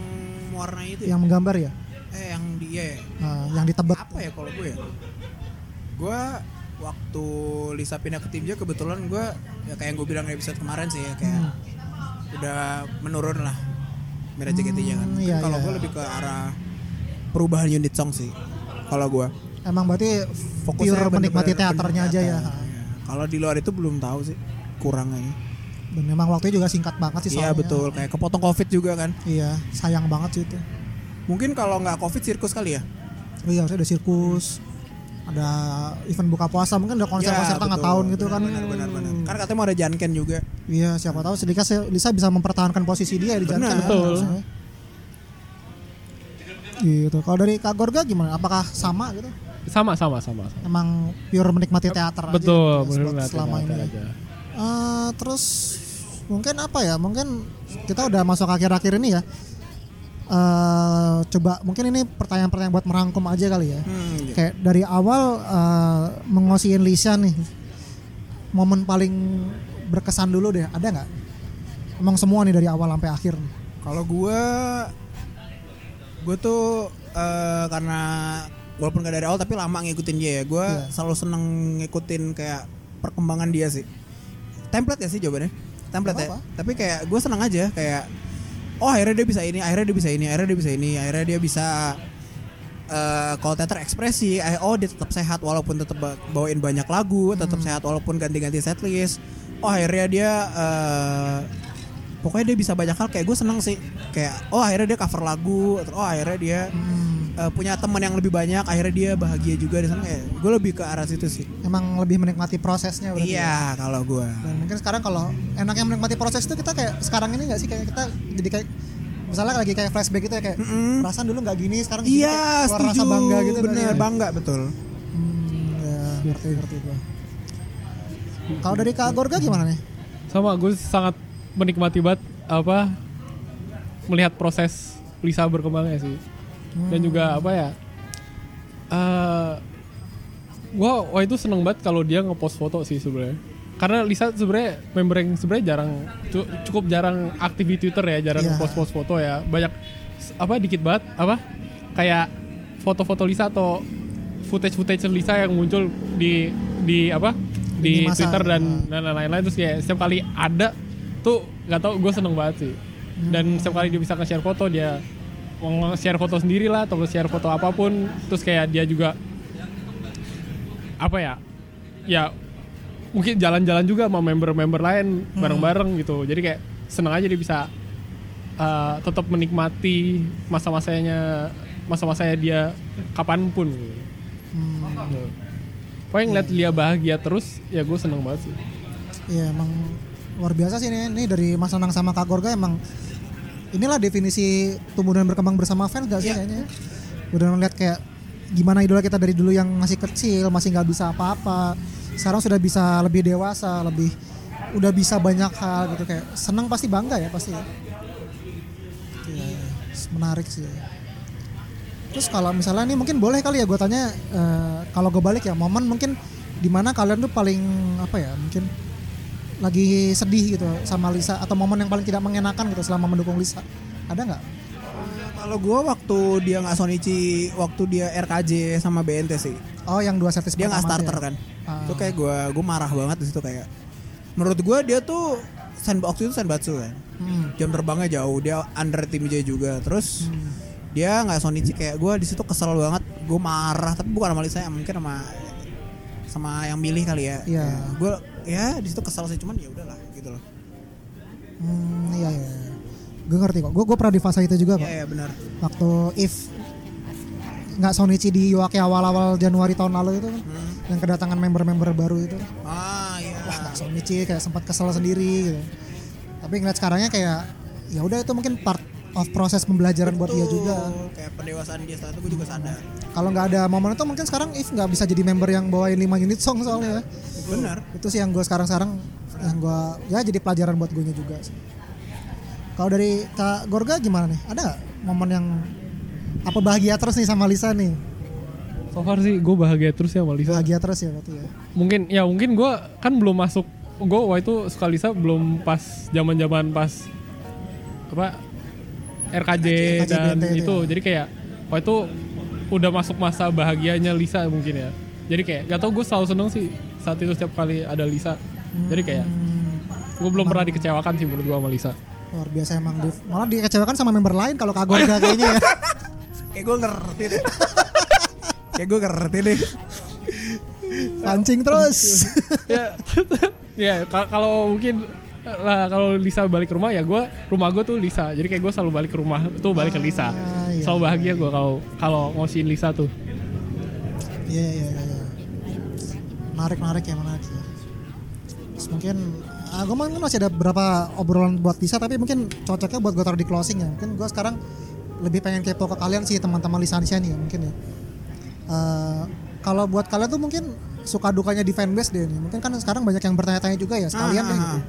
[SPEAKER 1] warna itu ya?
[SPEAKER 2] yang menggambar ya
[SPEAKER 1] eh yang dia ya?
[SPEAKER 2] Nah, yang di Tebet
[SPEAKER 1] apa ya kalau gue ya? Gue waktu Lisa pindah ke tim J kebetulan gue ya kayak yang gue bilang di episode kemarin sih ya kayak udah menurun lah merah jaketnya kan.
[SPEAKER 2] Hmm,
[SPEAKER 1] Kan
[SPEAKER 2] iya,
[SPEAKER 1] kalau
[SPEAKER 2] iya.
[SPEAKER 1] gue lebih ke arah perubahan unit song sih. Kalau gue
[SPEAKER 2] Emang berarti pure menikmati teaternya aja ya.
[SPEAKER 1] kan. iya. Kalau di luar itu belum tahu sih kurangnya.
[SPEAKER 2] Dan memang waktunya juga singkat banget sih
[SPEAKER 1] Iya
[SPEAKER 2] soalnya.
[SPEAKER 1] betul kayak kepotong covid juga kan.
[SPEAKER 2] Iya, sayang banget sih itu.
[SPEAKER 1] Mungkin kalau nggak covid sirkus kali ya.
[SPEAKER 2] Oh iya, harusnya ada sirkus, ada event buka puasa, mungkin ada
[SPEAKER 1] Ya,
[SPEAKER 2] konser-konser tengah
[SPEAKER 1] betul.
[SPEAKER 2] tahun gitu kan.
[SPEAKER 1] Benar-benar. benar. Kan katanya mau ada janken juga.
[SPEAKER 2] Iya, siapa tahu sedikit Lisa bisa mempertahankan posisi dia di jantan.
[SPEAKER 1] Benar.
[SPEAKER 2] kan,
[SPEAKER 3] Betul.
[SPEAKER 2] harusnya. Gitu. Kalau dari Kak Gorga gimana? Apakah sama gitu?
[SPEAKER 3] Sama, sama, sama.
[SPEAKER 2] Emang pure menikmati teater
[SPEAKER 3] Betul,
[SPEAKER 2] aja. gitu,
[SPEAKER 3] benar
[SPEAKER 2] buat selama ini.
[SPEAKER 3] aja.
[SPEAKER 2] Eh, terus mungkin apa ya? Mungkin kita udah masuk akhir-akhir ini ya. Eh, coba mungkin ini pertanyaan-pertanyaan buat merangkum aja kali ya.
[SPEAKER 1] Hmm, gitu.
[SPEAKER 2] Kayak dari awal eh, mengosiin Lisa nih, momen paling berkesan dulu deh. Ada nggak? Emang semua nih dari awal sampai akhir. nih.
[SPEAKER 1] Kalau gue, gue tuh eh, karena walaupun gak dari awal tapi lama ngikutin dia ya. Gue
[SPEAKER 2] Iya.
[SPEAKER 1] selalu seneng ngikutin kayak perkembangan dia sih. Template ya sih jawabannya. Template
[SPEAKER 2] Gak
[SPEAKER 1] ya.
[SPEAKER 2] apa-apa.
[SPEAKER 1] Tapi kayak gue seneng aja kayak oh akhirnya dia bisa ini, akhirnya dia bisa ini, akhirnya dia bisa ini, akhirnya dia bisa eh kalau teater ekspresi, eh, oh dia tetap sehat walaupun tetap ba- bawain banyak lagu, tetap sehat walaupun ganti-ganti setlist. Oh akhirnya dia eh, pokoknya dia bisa banyak hal kayak gue seneng sih kayak oh akhirnya dia cover lagu, atau, oh akhirnya dia eh, punya teman yang lebih banyak, akhirnya dia bahagia juga di sana. Kayak gue lebih ke arah situ sih.
[SPEAKER 2] Emang lebih menikmati prosesnya berarti. ya?
[SPEAKER 1] Iya kalau gue.
[SPEAKER 2] Dan mungkin sekarang kalau enaknya menikmati proses itu kita kayak sekarang ini nggak sih kayak kita jadi kayak misalnya lagi kayak flashback gitu ya kayak
[SPEAKER 1] Mm-mm.
[SPEAKER 2] perasaan dulu nggak gini sekarang gini,
[SPEAKER 1] Iya,
[SPEAKER 2] kayak keluar
[SPEAKER 1] setuju.
[SPEAKER 2] rasa bangga gitu kan
[SPEAKER 1] bener
[SPEAKER 2] ya.
[SPEAKER 1] bangga betul.
[SPEAKER 2] Hmm, ya, ngerti ngerti gua. Kalau dari Kak Gorga gimana nih?
[SPEAKER 3] Sama, gue sangat menikmati banget apa melihat proses Lisa berkembangnya sih. Dan
[SPEAKER 2] Hmm.
[SPEAKER 3] juga apa ya? eh gua wah itu seneng banget kalau dia ngepost foto sih sebenarnya. Karena Lisa sebenarnya member yang sebenarnya jarang cu- cukup jarang aktif di Twitter ya, jarang
[SPEAKER 2] Iya.
[SPEAKER 3] ngepost-post foto ya. Banyak s- apa dikit banget apa kayak foto-foto Lisa atau footage-footage Lisa yang muncul di di apa di
[SPEAKER 2] Lini masa,
[SPEAKER 3] Twitter dan
[SPEAKER 2] ya.
[SPEAKER 3] dan lain-lain terus kayak setiap kali ada tuh nggak tau gue seneng banget sih dan setiap kali dia bisa nge-share foto dia share foto sendiri lah atau share foto apapun terus kayak dia juga apa ya ya mungkin jalan-jalan juga sama member-member lain bareng-bareng gitu jadi kayak seneng aja dia bisa eh, tetap menikmati masa-masanya masa-masanya dia kapanpun gitu. Gitu. pokoknya ngeliat dia bahagia terus ya gue seneng banget sih
[SPEAKER 2] Iya emang luar biasa sih ini. Ini dari Mas Anang sama Kak Gorga emang inilah definisi tumbuh dan berkembang bersama fans gak sih kayaknya. Udah ngeliat kayak gimana idola kita dari dulu yang masih kecil, masih nggak bisa apa-apa. Sekarang sudah bisa lebih dewasa, lebih udah bisa banyak hal gitu kayak senang pasti bangga ya pasti ya. Iya, menarik sih. Terus kalau misalnya nih mungkin boleh kali ya gue tanya eh, kalau gue balik ya momen mungkin dimana kalian tuh paling apa ya mungkin lagi sedih gitu sama Lisa atau momen yang paling tidak mengenakan gitu selama mendukung Lisa ada nggak?
[SPEAKER 1] Kalau gua waktu dia nggak Sonichi, waktu dia RKJ sama BNT sih.
[SPEAKER 2] Oh yang dua setis
[SPEAKER 1] Dia nggak
[SPEAKER 2] pertama
[SPEAKER 1] starter
[SPEAKER 2] tuh ya?
[SPEAKER 1] kan.
[SPEAKER 2] Ah.
[SPEAKER 1] Itu kayak gua gua marah banget di situ kayak. Menurut gua dia tuh sandbox itu sandbatsu kan.
[SPEAKER 2] Hmm.
[SPEAKER 1] Jam terbangnya jauh, dia under tim J juga. Terus
[SPEAKER 2] Hmm.
[SPEAKER 1] dia nggak Sonichi kayak gua di situ kesel banget. Gua marah, tapi bukan sama saya, mungkin sama sama yang milih kali ya.
[SPEAKER 2] Iya.
[SPEAKER 1] Ya, Gua ya di situ kesel sih, cuman ya udahlah gitu loh.
[SPEAKER 2] Hmm, iya iya. Gue ngerti kok. Gue gue pernah di fase itu juga kok.
[SPEAKER 1] Iya, ya, benar.
[SPEAKER 2] Waktu if nggak Sonichi di Iwaki awal-awal Januari tahun lalu itu kan,
[SPEAKER 1] Hmm.
[SPEAKER 2] yang kedatangan member-member baru itu.
[SPEAKER 1] Ah, iya.
[SPEAKER 2] Wah, Sonichi kayak sempat kesel sendiri gitu. Tapi ngeliat sekarangnya kayak ya udah itu mungkin part of proses pembelajaran buat dia juga.
[SPEAKER 1] Betul, Kayak pendewasaan dia setelah itu gue juga sadar.
[SPEAKER 2] Kalau nggak ada momen itu mungkin sekarang if nggak bisa jadi member yang bawain 5 unit song soalnya.
[SPEAKER 1] Benar.
[SPEAKER 2] Itu sih yang gue sekarang-sekarang yang gue ya jadi pelajaran buat gue juga. sih. Kalau dari Kak Gorga gimana nih? Ada nggak momen yang apa bahagia terus nih sama Lisa nih?
[SPEAKER 3] so far sih gue bahagia terus ya sama Lisa
[SPEAKER 2] Bahagia terus ya berarti ya.
[SPEAKER 3] mungkin ya mungkin gue kan belum masuk gue waktu itu suka Lisa belum pas zaman zaman pas apa RKJ,
[SPEAKER 2] RKJ
[SPEAKER 3] dan
[SPEAKER 2] BNT itu
[SPEAKER 3] itu,
[SPEAKER 2] ya.
[SPEAKER 3] jadi kayak waktu itu udah masuk masa bahagianya Lisa mungkin ya jadi kayak gak tau gue selalu seneng sih saat itu setiap kali ada Lisa jadi kayak gue belum pernah dikecewakan sih menurut gue sama Lisa
[SPEAKER 2] Luar biasa emang Div. Malah dikecewakan sama member lain kalau Kak Gorga kayaknya ya.
[SPEAKER 1] Kayak gue ngerti deh. Kayak gue ngerti deh.
[SPEAKER 2] Pancing terus.
[SPEAKER 3] ya ya ka- kalau mungkin lah kalau Lisa balik ke rumah ya gue rumah gue tuh Lisa jadi kayak gue selalu balik ke rumah tuh balik ke Lisa
[SPEAKER 2] Ah, iya.
[SPEAKER 3] selalu bahagia gue kalau kalau ngosiin Lisa tuh
[SPEAKER 2] Iya iya iya. iya. Menarik menarik ya menarik. Ya. Terus mungkin ah, gue mungkin masih ada beberapa obrolan buat Lisa tapi mungkin cocoknya buat gue taruh di closing ya. Mungkin gue sekarang lebih pengen kepo ke kalian sih teman-teman Lisansia nih ya mungkin ya. Eh, kalau buat kalian tuh mungkin suka dukanya di fanbase deh nih. Mungkin kan sekarang banyak yang bertanya-tanya juga ya sekalian deh gitu.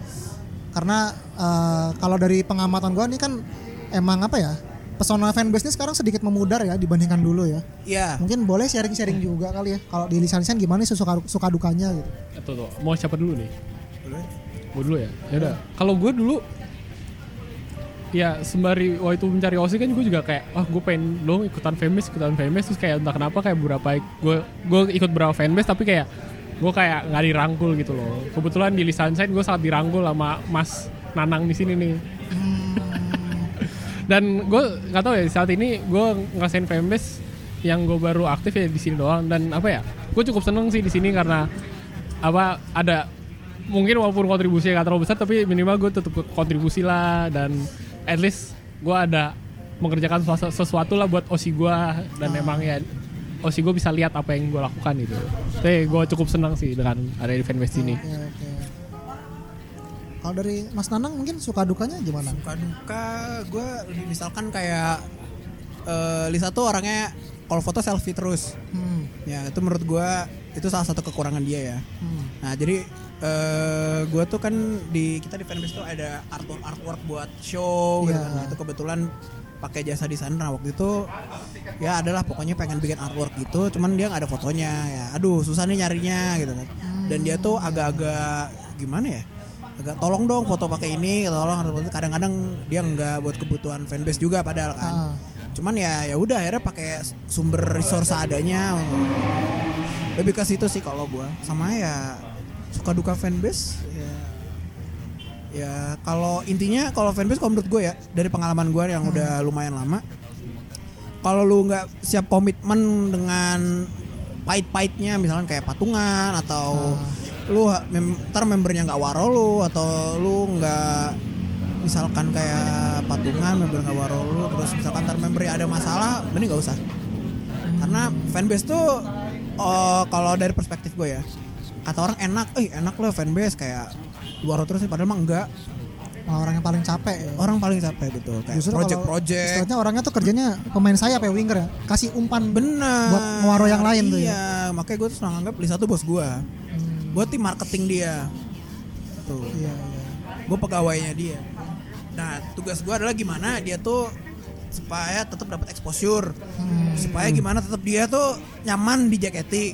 [SPEAKER 2] Karena eh, kalau dari pengamatan gue nih kan emang apa ya pesona fanbase ini sekarang sedikit memudar ya dibandingkan dulu ya
[SPEAKER 1] Iya.
[SPEAKER 2] mungkin boleh sharing-sharing juga kali ya kalau di lisan-lisan gimana sih suka suka dukanya gitu
[SPEAKER 3] Tuh, tuh, mau siapa dulu nih? Gue dulu ya? Ya udah. Kalau gue dulu ya sembari waktu itu mencari osi kan gue juga kayak ah gue pengen dong ikutan fanbase ikutan fanbase terus kayak entah kenapa kayak beberapa gue gue ikut beberapa fanbase tapi kayak gue kayak nggak dirangkul gitu loh kebetulan di lisan saya gue sangat dirangkul sama mas nanang di sini nih dan gue nggak tahu ya saat ini gue ngerasain fanbase yang gue baru aktif ya di sini doang dan apa ya gue cukup seneng sih di sini karena apa ada mungkin walaupun kontribusinya nggak terlalu besar tapi minimal gue tetap kontribusi lah dan at least gue ada mengerjakan sesuatu, sesuatu lah buat osi gue dan emang ya osi gue bisa lihat apa yang gue lakukan gitu tapi gue cukup senang sih dengan ada di fanbase ini
[SPEAKER 2] oke Ya, oke kalau dari Mas Nanang mungkin suka dukanya gimana
[SPEAKER 1] Suka duka gue misalkan kayak eh, Lisa tuh orangnya kalau foto selfie terus.
[SPEAKER 2] hmm,
[SPEAKER 1] Ya itu menurut gue itu salah satu kekurangan dia ya.
[SPEAKER 2] hmm.
[SPEAKER 1] Nah jadi eh gue tuh kan di kita di fanbase tuh ada artwork artwork buat show gitu
[SPEAKER 2] Iya.
[SPEAKER 1] kan. Nah, itu kebetulan pakai jasa desainer Nah, waktu itu ya adalah pokoknya pengen bikin artwork gitu cuman dia nggak ada fotonya ya aduh susah nih nyarinya gitu kan dan dia tuh agak-agak gimana ya agak tolong dong foto pakai ini tolong kadang-kadang dia nggak buat kebutuhan fanbase juga padahal kan
[SPEAKER 2] Ah.
[SPEAKER 1] cuman ya ya udah akhirnya pakai sumber resource adanya lebih ke situ sih kalau gua sama ya suka duka fanbase ya ya kalau intinya kalau fanbase kalau menurut gue ya dari pengalaman gue yang udah lumayan lama kalau lu nggak siap komitmen dengan pahit-pahitnya misalkan kayak patungan atau lu ha- mem ntar membernya nggak waro lu atau lu nggak misalkan kayak patungan member nggak waro lu terus misalkan ntar membernya ada masalah mending nggak usah karena fanbase tuh eh, kalau dari perspektif gue ya kata orang enak eh enak lah fanbase kayak waro terus sih, padahal mah enggak
[SPEAKER 2] orang yang paling capek ya.
[SPEAKER 1] orang paling capek betul kayak
[SPEAKER 2] Justru kalau
[SPEAKER 1] Eh, project-project
[SPEAKER 2] Istilahnya orangnya tuh kerjanya pemain sayap ya winger ya. Kasih umpan
[SPEAKER 1] Bener.
[SPEAKER 2] Buat muaro yang
[SPEAKER 1] iya,
[SPEAKER 2] lain tuh ya?
[SPEAKER 1] makanya gue terus nganggap Lisa tuh bos gue. Gue tim marketing dia. Tuh,
[SPEAKER 2] Iya, iya.
[SPEAKER 1] gue pegawainya dia. Nah, tugas gue adalah gimana dia tuh supaya tetap dapat exposure, supaya gimana tetap dia tuh nyaman di jaketi,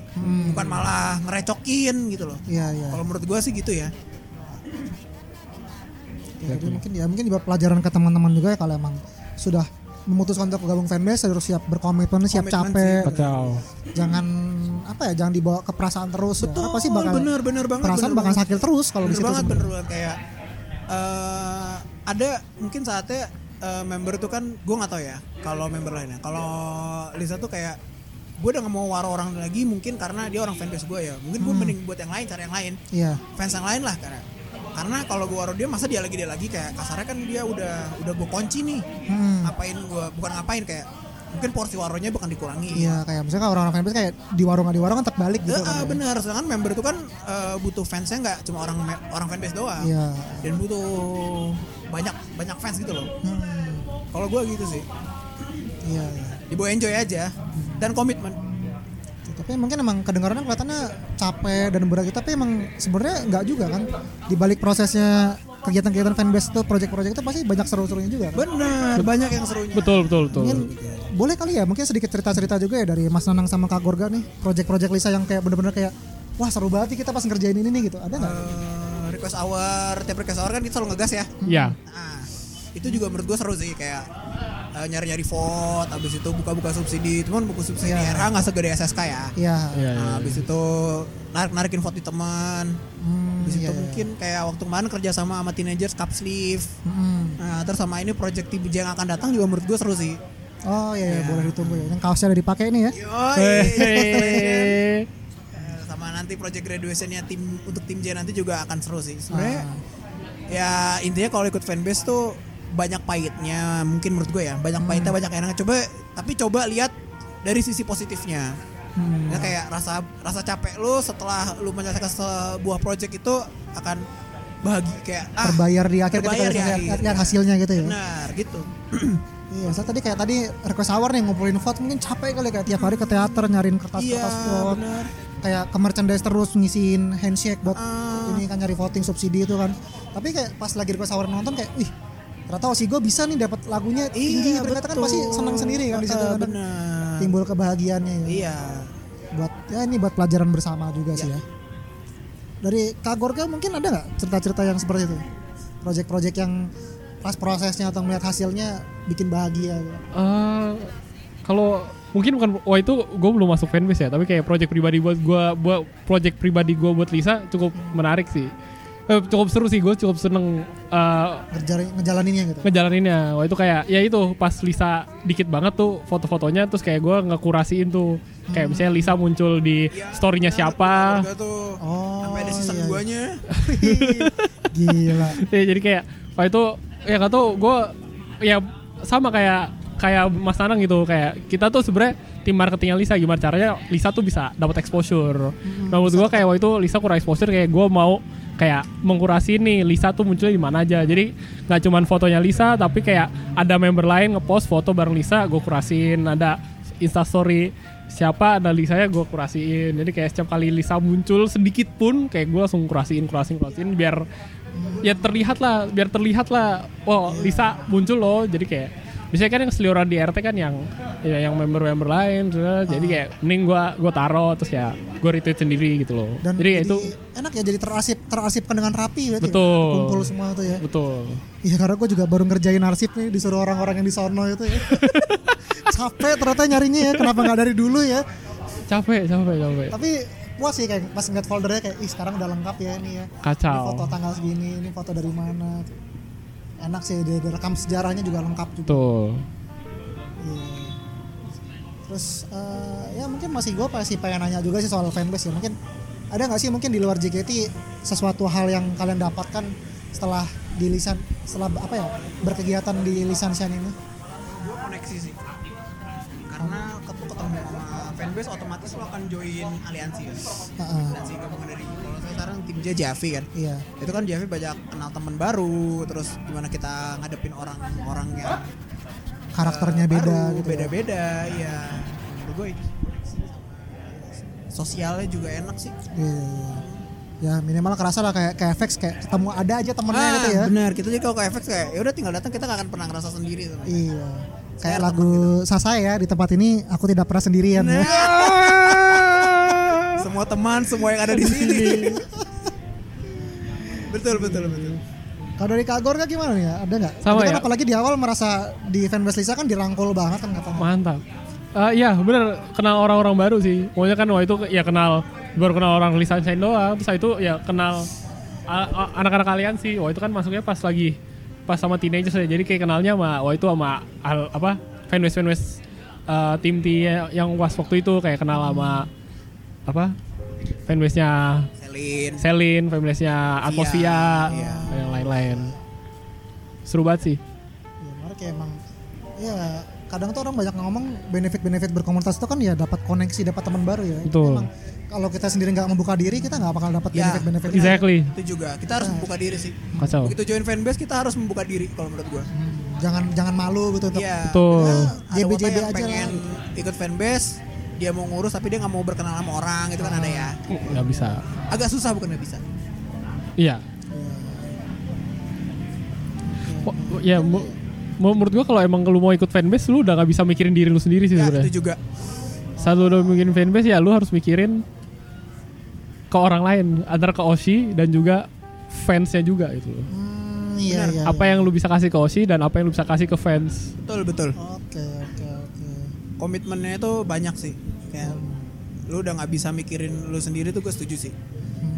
[SPEAKER 1] bukan malah ngerecokin gitu loh.
[SPEAKER 2] Iya, iya.
[SPEAKER 1] Kalau menurut gue sih gitu ya.
[SPEAKER 2] Ya,
[SPEAKER 1] gitu.
[SPEAKER 2] jadi mungkin ya mungkin juga pelajaran ke teman-teman juga ya kalau emang sudah memutuskan untuk gabung fanbase harus siap berkomitmen, siap
[SPEAKER 1] Komitmen
[SPEAKER 2] capek.
[SPEAKER 1] sih.
[SPEAKER 3] Kacau.
[SPEAKER 2] Jangan apa ya, jangan dibawa ke perasaan terus. ya. Karena
[SPEAKER 1] Betul,
[SPEAKER 2] pasti bakal
[SPEAKER 1] bener, bener banget.
[SPEAKER 2] perasaan
[SPEAKER 1] bener
[SPEAKER 2] bakal
[SPEAKER 1] banget.
[SPEAKER 2] sakit terus kalau
[SPEAKER 1] bener
[SPEAKER 2] di situ.
[SPEAKER 1] banget
[SPEAKER 2] sebenarnya.
[SPEAKER 1] bener banget kayak eh ada mungkin saatnya eh, member tuh kan gue nggak tahu ya kalau member lainnya kalau Lisa tuh kayak gue udah gak mau waro orang lagi mungkin karena dia orang fanbase gue ya mungkin
[SPEAKER 2] Hmm.
[SPEAKER 1] gue mending buat yang lain cari yang lain
[SPEAKER 2] Iya.
[SPEAKER 1] fans yang lain lah karena karena kalau gue waro dia masa dia lagi dia lagi kayak kasarnya kan dia udah udah gue kunci nih
[SPEAKER 2] Hmm.
[SPEAKER 1] ngapain gue bukan ngapain kayak mungkin porsi waronya bukan dikurangi
[SPEAKER 2] Iya, kayak misalnya orang-orang fanbase kayak di warung nggak di warung kan terbalik gitu.
[SPEAKER 1] Eh,
[SPEAKER 2] kan,
[SPEAKER 1] ah,
[SPEAKER 2] ya.
[SPEAKER 1] bener sedangkan member itu kan eh, butuh fansnya nggak cuma orang me- orang fanbase doang
[SPEAKER 2] Iya.
[SPEAKER 1] dan butuh banyak banyak fans gitu loh
[SPEAKER 2] Hmm.
[SPEAKER 1] kalau gue gitu sih
[SPEAKER 2] Iya, iya.
[SPEAKER 1] dibawa enjoy aja dan komitmen
[SPEAKER 2] tapi mungkin emang kedengarannya kelihatannya capek dan berat gitu, tapi emang sebenarnya nggak juga kan di balik prosesnya kegiatan-kegiatan fanbase itu project-project itu pasti banyak seru-serunya juga kan?
[SPEAKER 1] bener banyak yang serunya
[SPEAKER 3] Betul, betul, betul.
[SPEAKER 2] mungkin boleh kali ya mungkin sedikit cerita-cerita juga ya dari Mas Nanang sama Kak Gorga nih project-project Lisa yang kayak bener-bener kayak wah seru banget nih kita pas ngerjain ini nih gitu ada nggak?
[SPEAKER 1] Eh, request hour tiap request hour kan kita selalu ngegas ya
[SPEAKER 3] Ya.
[SPEAKER 1] nah, itu juga menurut gue seru sih kayak eh, nyari-nyari vote abis itu buka-buka subsidi cuman buku subsidi
[SPEAKER 2] Iya.
[SPEAKER 1] era nggak segede SSK ya
[SPEAKER 2] Iya.
[SPEAKER 3] Iya, iya.
[SPEAKER 1] Nah, abis itu narik-narikin vote di teman
[SPEAKER 2] Hmm,
[SPEAKER 1] Di situ
[SPEAKER 2] iya, iya.
[SPEAKER 1] mungkin kayak waktu kemarin kerja sama sama teenagers cup sleeve.
[SPEAKER 2] Hmm.
[SPEAKER 1] Nah, terus sama ini project TBJ yang akan datang juga menurut gue seru sih.
[SPEAKER 2] Oh iya, iya, boleh ditunggu ya. Yang kaosnya udah dipakai nih ya.
[SPEAKER 1] Yoi. Eh, sama nanti project graduationnya tim untuk tim J nanti juga akan seru sih. Sebenarnya
[SPEAKER 2] Ah.
[SPEAKER 1] ya intinya kalau ikut fanbase tuh banyak pahitnya mungkin menurut gue ya banyak pahitnya
[SPEAKER 2] Hmm.
[SPEAKER 1] banyak enaknya coba tapi coba lihat dari sisi positifnya
[SPEAKER 2] Hmm.
[SPEAKER 1] Ya, kayak rasa rasa capek lu setelah lu menyelesaikan sebuah project itu akan bahagia kayak ah,
[SPEAKER 2] Terbayar di akhir ketika
[SPEAKER 1] terbayar di
[SPEAKER 2] lihat-
[SPEAKER 1] akhir.
[SPEAKER 2] lihat- lihat hasilnya gitu ya.
[SPEAKER 1] benar gitu
[SPEAKER 2] Iya, saya tadi kayak tadi request hour nih ngumpulin vote mungkin capek kali kayak tiap hari ke teater nyariin
[SPEAKER 1] iya
[SPEAKER 2] kertas-kertas vote,
[SPEAKER 1] benar
[SPEAKER 2] kayak ke merchandise terus ngisiin handshake buat
[SPEAKER 1] Ah.
[SPEAKER 2] ini kan nyari voting subsidi itu kan. Tapi kayak pas lagi request hour nonton kayak, wih ternyata oh, si gue bisa nih dapat lagunya tinggi, ternyata kan pasti senang sendiri kan di situ
[SPEAKER 1] Eh,
[SPEAKER 2] kan.
[SPEAKER 1] Iya, benar
[SPEAKER 2] timbul kebahagiaannya ya.
[SPEAKER 1] iya
[SPEAKER 2] Buat ya ini buat pelajaran bersama juga sih ya. Dari Kak Gorga mungkin ada nggak cerita-cerita yang seperti itu? Project-project yang pas prosesnya atau melihat hasilnya bikin bahagia gitu.
[SPEAKER 3] Eh, kalau mungkin bukan wah itu gue belum masuk fanbase ya tapi kayak project pribadi buat gue buat project pribadi gue buat Lisa cukup menarik sih Eh, cukup seru sih gue cukup seneng eh,
[SPEAKER 2] ngerjain ngejalaninnya gitu.
[SPEAKER 3] ngejalaninnya wah itu kayak ya itu pas Lisa dikit banget tuh foto-fotonya terus kayak gue ngekurasiin tuh kayak misalnya Lisa muncul di storynya Ya, siapa
[SPEAKER 1] Keluarga tuh
[SPEAKER 2] Oh,
[SPEAKER 1] sampai ada season
[SPEAKER 2] iya, iya.
[SPEAKER 1] 2 nya
[SPEAKER 2] Gila.
[SPEAKER 3] ya, jadi kayak wah itu ya nggak tahu gue ya sama kayak kayak Mas Nanang gitu kayak kita tuh sebenarnya tim marketingnya Lisa gimana caranya Lisa tuh bisa dapat exposure. nah menurut gue kayak waktu itu Lisa kurang exposure kayak gue mau kayak mengkurasi nih Lisa tuh munculnya di mana aja. Jadi nggak cuman fotonya Lisa tapi kayak ada member lain ngepost foto bareng Lisa gue kurasiin ada instastory siapa ada Lisanya gue kurasiin jadi kayak setiap kali Lisa muncul sedikit pun kayak gue langsung kurasiin kurasiin kurasiin biar ya terlihat lah biar terlihat lah oh Lisa muncul loh jadi kayak biasanya kan yang seliuran di RT kan yang ya yang member-member lain terus, jadi kayak mending gua gua taro terus ya gua retweet sendiri gitu loh
[SPEAKER 2] Dan
[SPEAKER 3] jadi ya itu
[SPEAKER 2] enak ya jadi terasip terasipkan dengan rapi berarti. ya.
[SPEAKER 3] Betul.
[SPEAKER 2] Kumpul semua itu ya.
[SPEAKER 3] betul
[SPEAKER 2] Iya karena gue juga baru ngerjain arsip nih disuruh orang-orang yang di sono itu ya. capek ternyata nyarinya ya kenapa nggak dari dulu ya
[SPEAKER 3] capek capek capek
[SPEAKER 2] tapi puas sih kayak pas ngeliat foldernya kayak ih sekarang udah lengkap ya ini ya ini
[SPEAKER 3] kacau
[SPEAKER 2] foto tanggal segini ini foto dari mana enak sih dia dia rekam sejarahnya juga lengkap juga
[SPEAKER 3] betul
[SPEAKER 2] Iya. terus eh, ya mungkin masih gue pasti pengen nanya juga sih soal fanbase ya mungkin ada nggak sih mungkin di luar JKT sesuatu hal yang kalian dapatkan setelah di lisan setelah apa ya berkegiatan di lisan sian ini
[SPEAKER 1] gue koneksi sih karena ketemu ketemu sama fanbase otomatis lo akan join aliansi kan
[SPEAKER 2] Heeh.
[SPEAKER 1] aliansi gabungan dari kalau saya sekarang tim J Javi kan
[SPEAKER 2] iya
[SPEAKER 1] itu kan Javi banyak kenal teman baru terus gimana kita ngadepin orang-orang yang
[SPEAKER 2] karakternya
[SPEAKER 1] eh,
[SPEAKER 2] beda
[SPEAKER 1] baru,
[SPEAKER 2] gitu ya.
[SPEAKER 1] beda-beda ya menurut gue itu koneksi sama sosialnya juga enak sih
[SPEAKER 2] Iya, iya, iya. ya minimal kerasa lah kayak kayak FX kayak ketemu ada aja
[SPEAKER 1] Ah,
[SPEAKER 2] temennya gitu ya
[SPEAKER 1] benar kita jadi kalau ke FX kayak ya udah tinggal datang kita gak akan pernah ngerasa sendiri sebenarnya.
[SPEAKER 2] iya
[SPEAKER 1] Saya
[SPEAKER 2] kayak
[SPEAKER 1] ada
[SPEAKER 2] lagu Sasa ya di tempat ini aku tidak pernah sendirian
[SPEAKER 3] Nah.
[SPEAKER 2] ya.
[SPEAKER 1] semua teman semua yang ada di sini betul betul betul
[SPEAKER 2] Kalau dari Kak Gorka gimana nih? ya? Ada nggak?
[SPEAKER 3] Sama
[SPEAKER 2] Tadi kan
[SPEAKER 3] ya.
[SPEAKER 2] apalagi di awal merasa di fanbase Lisa kan dirangkul banget kan katanya.
[SPEAKER 3] Mantap. Eh iya bener kenal orang-orang baru sih. Pokoknya kan waktu itu ya kenal baru kenal orang Lisan Shine doang. Terus habis itu ya kenal a- a- anak-anak kalian sih. Wah itu kan masuknya pas lagi pas sama teenagers ya. Jadi kayak kenalnya sama wah itu sama al- apa fanbase fanbase eh tim T yang was waktu itu kayak kenal sama apa fanbase-nya
[SPEAKER 1] Selin
[SPEAKER 3] Selin, fanbase-nya Atmosfia,
[SPEAKER 1] Iya.
[SPEAKER 3] dan yang lain-lain. Seru banget sih.
[SPEAKER 2] Ya, mereka kayak emang ya kadang tuh orang banyak ngomong benefit-benefit berkomunitas itu kan ya dapat koneksi, dapat teman baru ya.
[SPEAKER 3] Betul. Iya.
[SPEAKER 2] Emang kalau kita sendiri nggak membuka diri kita nggak bakal dapat
[SPEAKER 1] Ya.
[SPEAKER 2] benefit-benefit.
[SPEAKER 3] Exactly.
[SPEAKER 1] itu juga kita
[SPEAKER 2] Nah.
[SPEAKER 1] harus membuka diri sih
[SPEAKER 2] Oh.
[SPEAKER 3] Kacau.
[SPEAKER 1] begitu join fanbase kita harus membuka diri kalau menurut gua
[SPEAKER 2] Hmm. Jangan jangan malu gitu untuk
[SPEAKER 1] iya
[SPEAKER 3] Betul.
[SPEAKER 1] ada
[SPEAKER 2] JB
[SPEAKER 1] JB
[SPEAKER 2] aja
[SPEAKER 1] yang
[SPEAKER 2] lah.
[SPEAKER 1] pengen ikut fanbase dia mau ngurus tapi dia nggak mau berkenalan sama orang itu kan
[SPEAKER 2] Ah.
[SPEAKER 1] ada ya
[SPEAKER 3] Nggak bisa.
[SPEAKER 1] agak susah bukan nggak bisa
[SPEAKER 3] Iya. Wo- wo- Ya, mu- mu- menurut gua kalau emang lu mau ikut fanbase lu udah gak bisa mikirin diri lu sendiri sih
[SPEAKER 2] Iya,
[SPEAKER 1] ya
[SPEAKER 3] sebenarnya.
[SPEAKER 1] itu juga
[SPEAKER 3] Saat lu udah mikirin fanbase ya lu harus mikirin ke orang lain, antara ke Oshi dan juga fansnya juga gitu loh.
[SPEAKER 2] Hmm, iya,
[SPEAKER 1] Ya,
[SPEAKER 2] iya,
[SPEAKER 3] apa ya?
[SPEAKER 2] iya.
[SPEAKER 3] yang lu bisa kasih ke Oshi dan apa yang lu bisa kasih ke fans.
[SPEAKER 1] betul betul
[SPEAKER 2] Oke, oke, oke.
[SPEAKER 1] komitmennya itu banyak sih kayak lu udah nggak bisa mikirin lu sendiri tuh gue setuju sih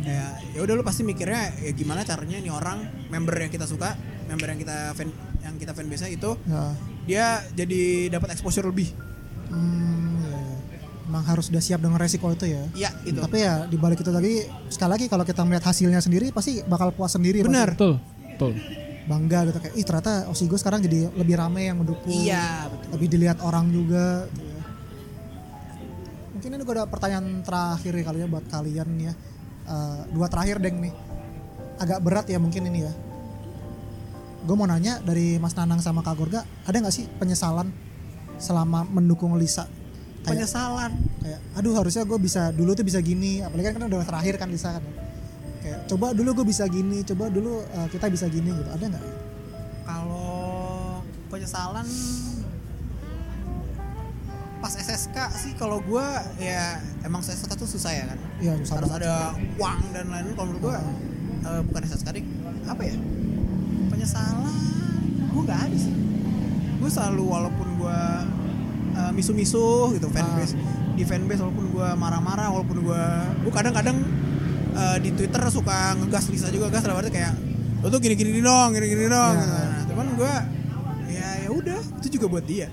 [SPEAKER 1] kayak ya udah lu pasti mikirnya ya gimana caranya nih orang member yang kita suka member yang kita fan yang kita fan biasa itu
[SPEAKER 2] Ya.
[SPEAKER 1] dia jadi dapat exposure lebih
[SPEAKER 2] Hmm, iya, iya. Emang harus udah siap dengan resiko itu
[SPEAKER 3] Iya.
[SPEAKER 1] ya
[SPEAKER 2] ya.
[SPEAKER 1] itu
[SPEAKER 2] Tapi ya dibalik itu lagi sekali lagi kalau kita melihat hasilnya sendiri pasti bakal puas sendiri. pasti.
[SPEAKER 1] Benar.
[SPEAKER 3] Betul. Betul.
[SPEAKER 2] Bangga gitu kayak ih ternyata Osigo sekarang jadi lebih rame yang mendukung.
[SPEAKER 1] iya betul
[SPEAKER 2] Lebih dilihat orang juga. gitu ya. Mungkin ini gue ada pertanyaan terakhir ya kali ya buat kalian ya. Eh, dua terakhir deng nih. Agak berat ya mungkin ini ya. Gue mau nanya dari Mas Nanang sama Kak Gorga, ada nggak sih penyesalan selama mendukung Lisa? Kayak-
[SPEAKER 1] penyesalan
[SPEAKER 2] kayak aduh harusnya gue bisa dulu tuh bisa gini apalagi kan, kan udah terakhir kan Lisa kan ya. kayak coba dulu gue bisa gini coba dulu uh, kita bisa gini gitu ada nggak
[SPEAKER 1] kalau penyesalan pas SSK sih kalau gue ya emang SSK tuh susah ya kan
[SPEAKER 2] ya susah
[SPEAKER 1] harus
[SPEAKER 2] banget
[SPEAKER 1] ada uang dan lain-lain kalau menurut gua eh, bukan SSK deh apa ya penyesalan gua nggak ada sih gua selalu walaupun gua eh, misu-misu gitu fanbase di fanbase walaupun gua marah-marah walaupun gua gua kadang-kadang eh, di Twitter suka ngegas Lisa juga gas dalam arti kayak lo tuh gini-gini dong gini-gini dong
[SPEAKER 2] Ya.
[SPEAKER 1] gitu. Nah, cuman gua ya ya udah itu juga buat dia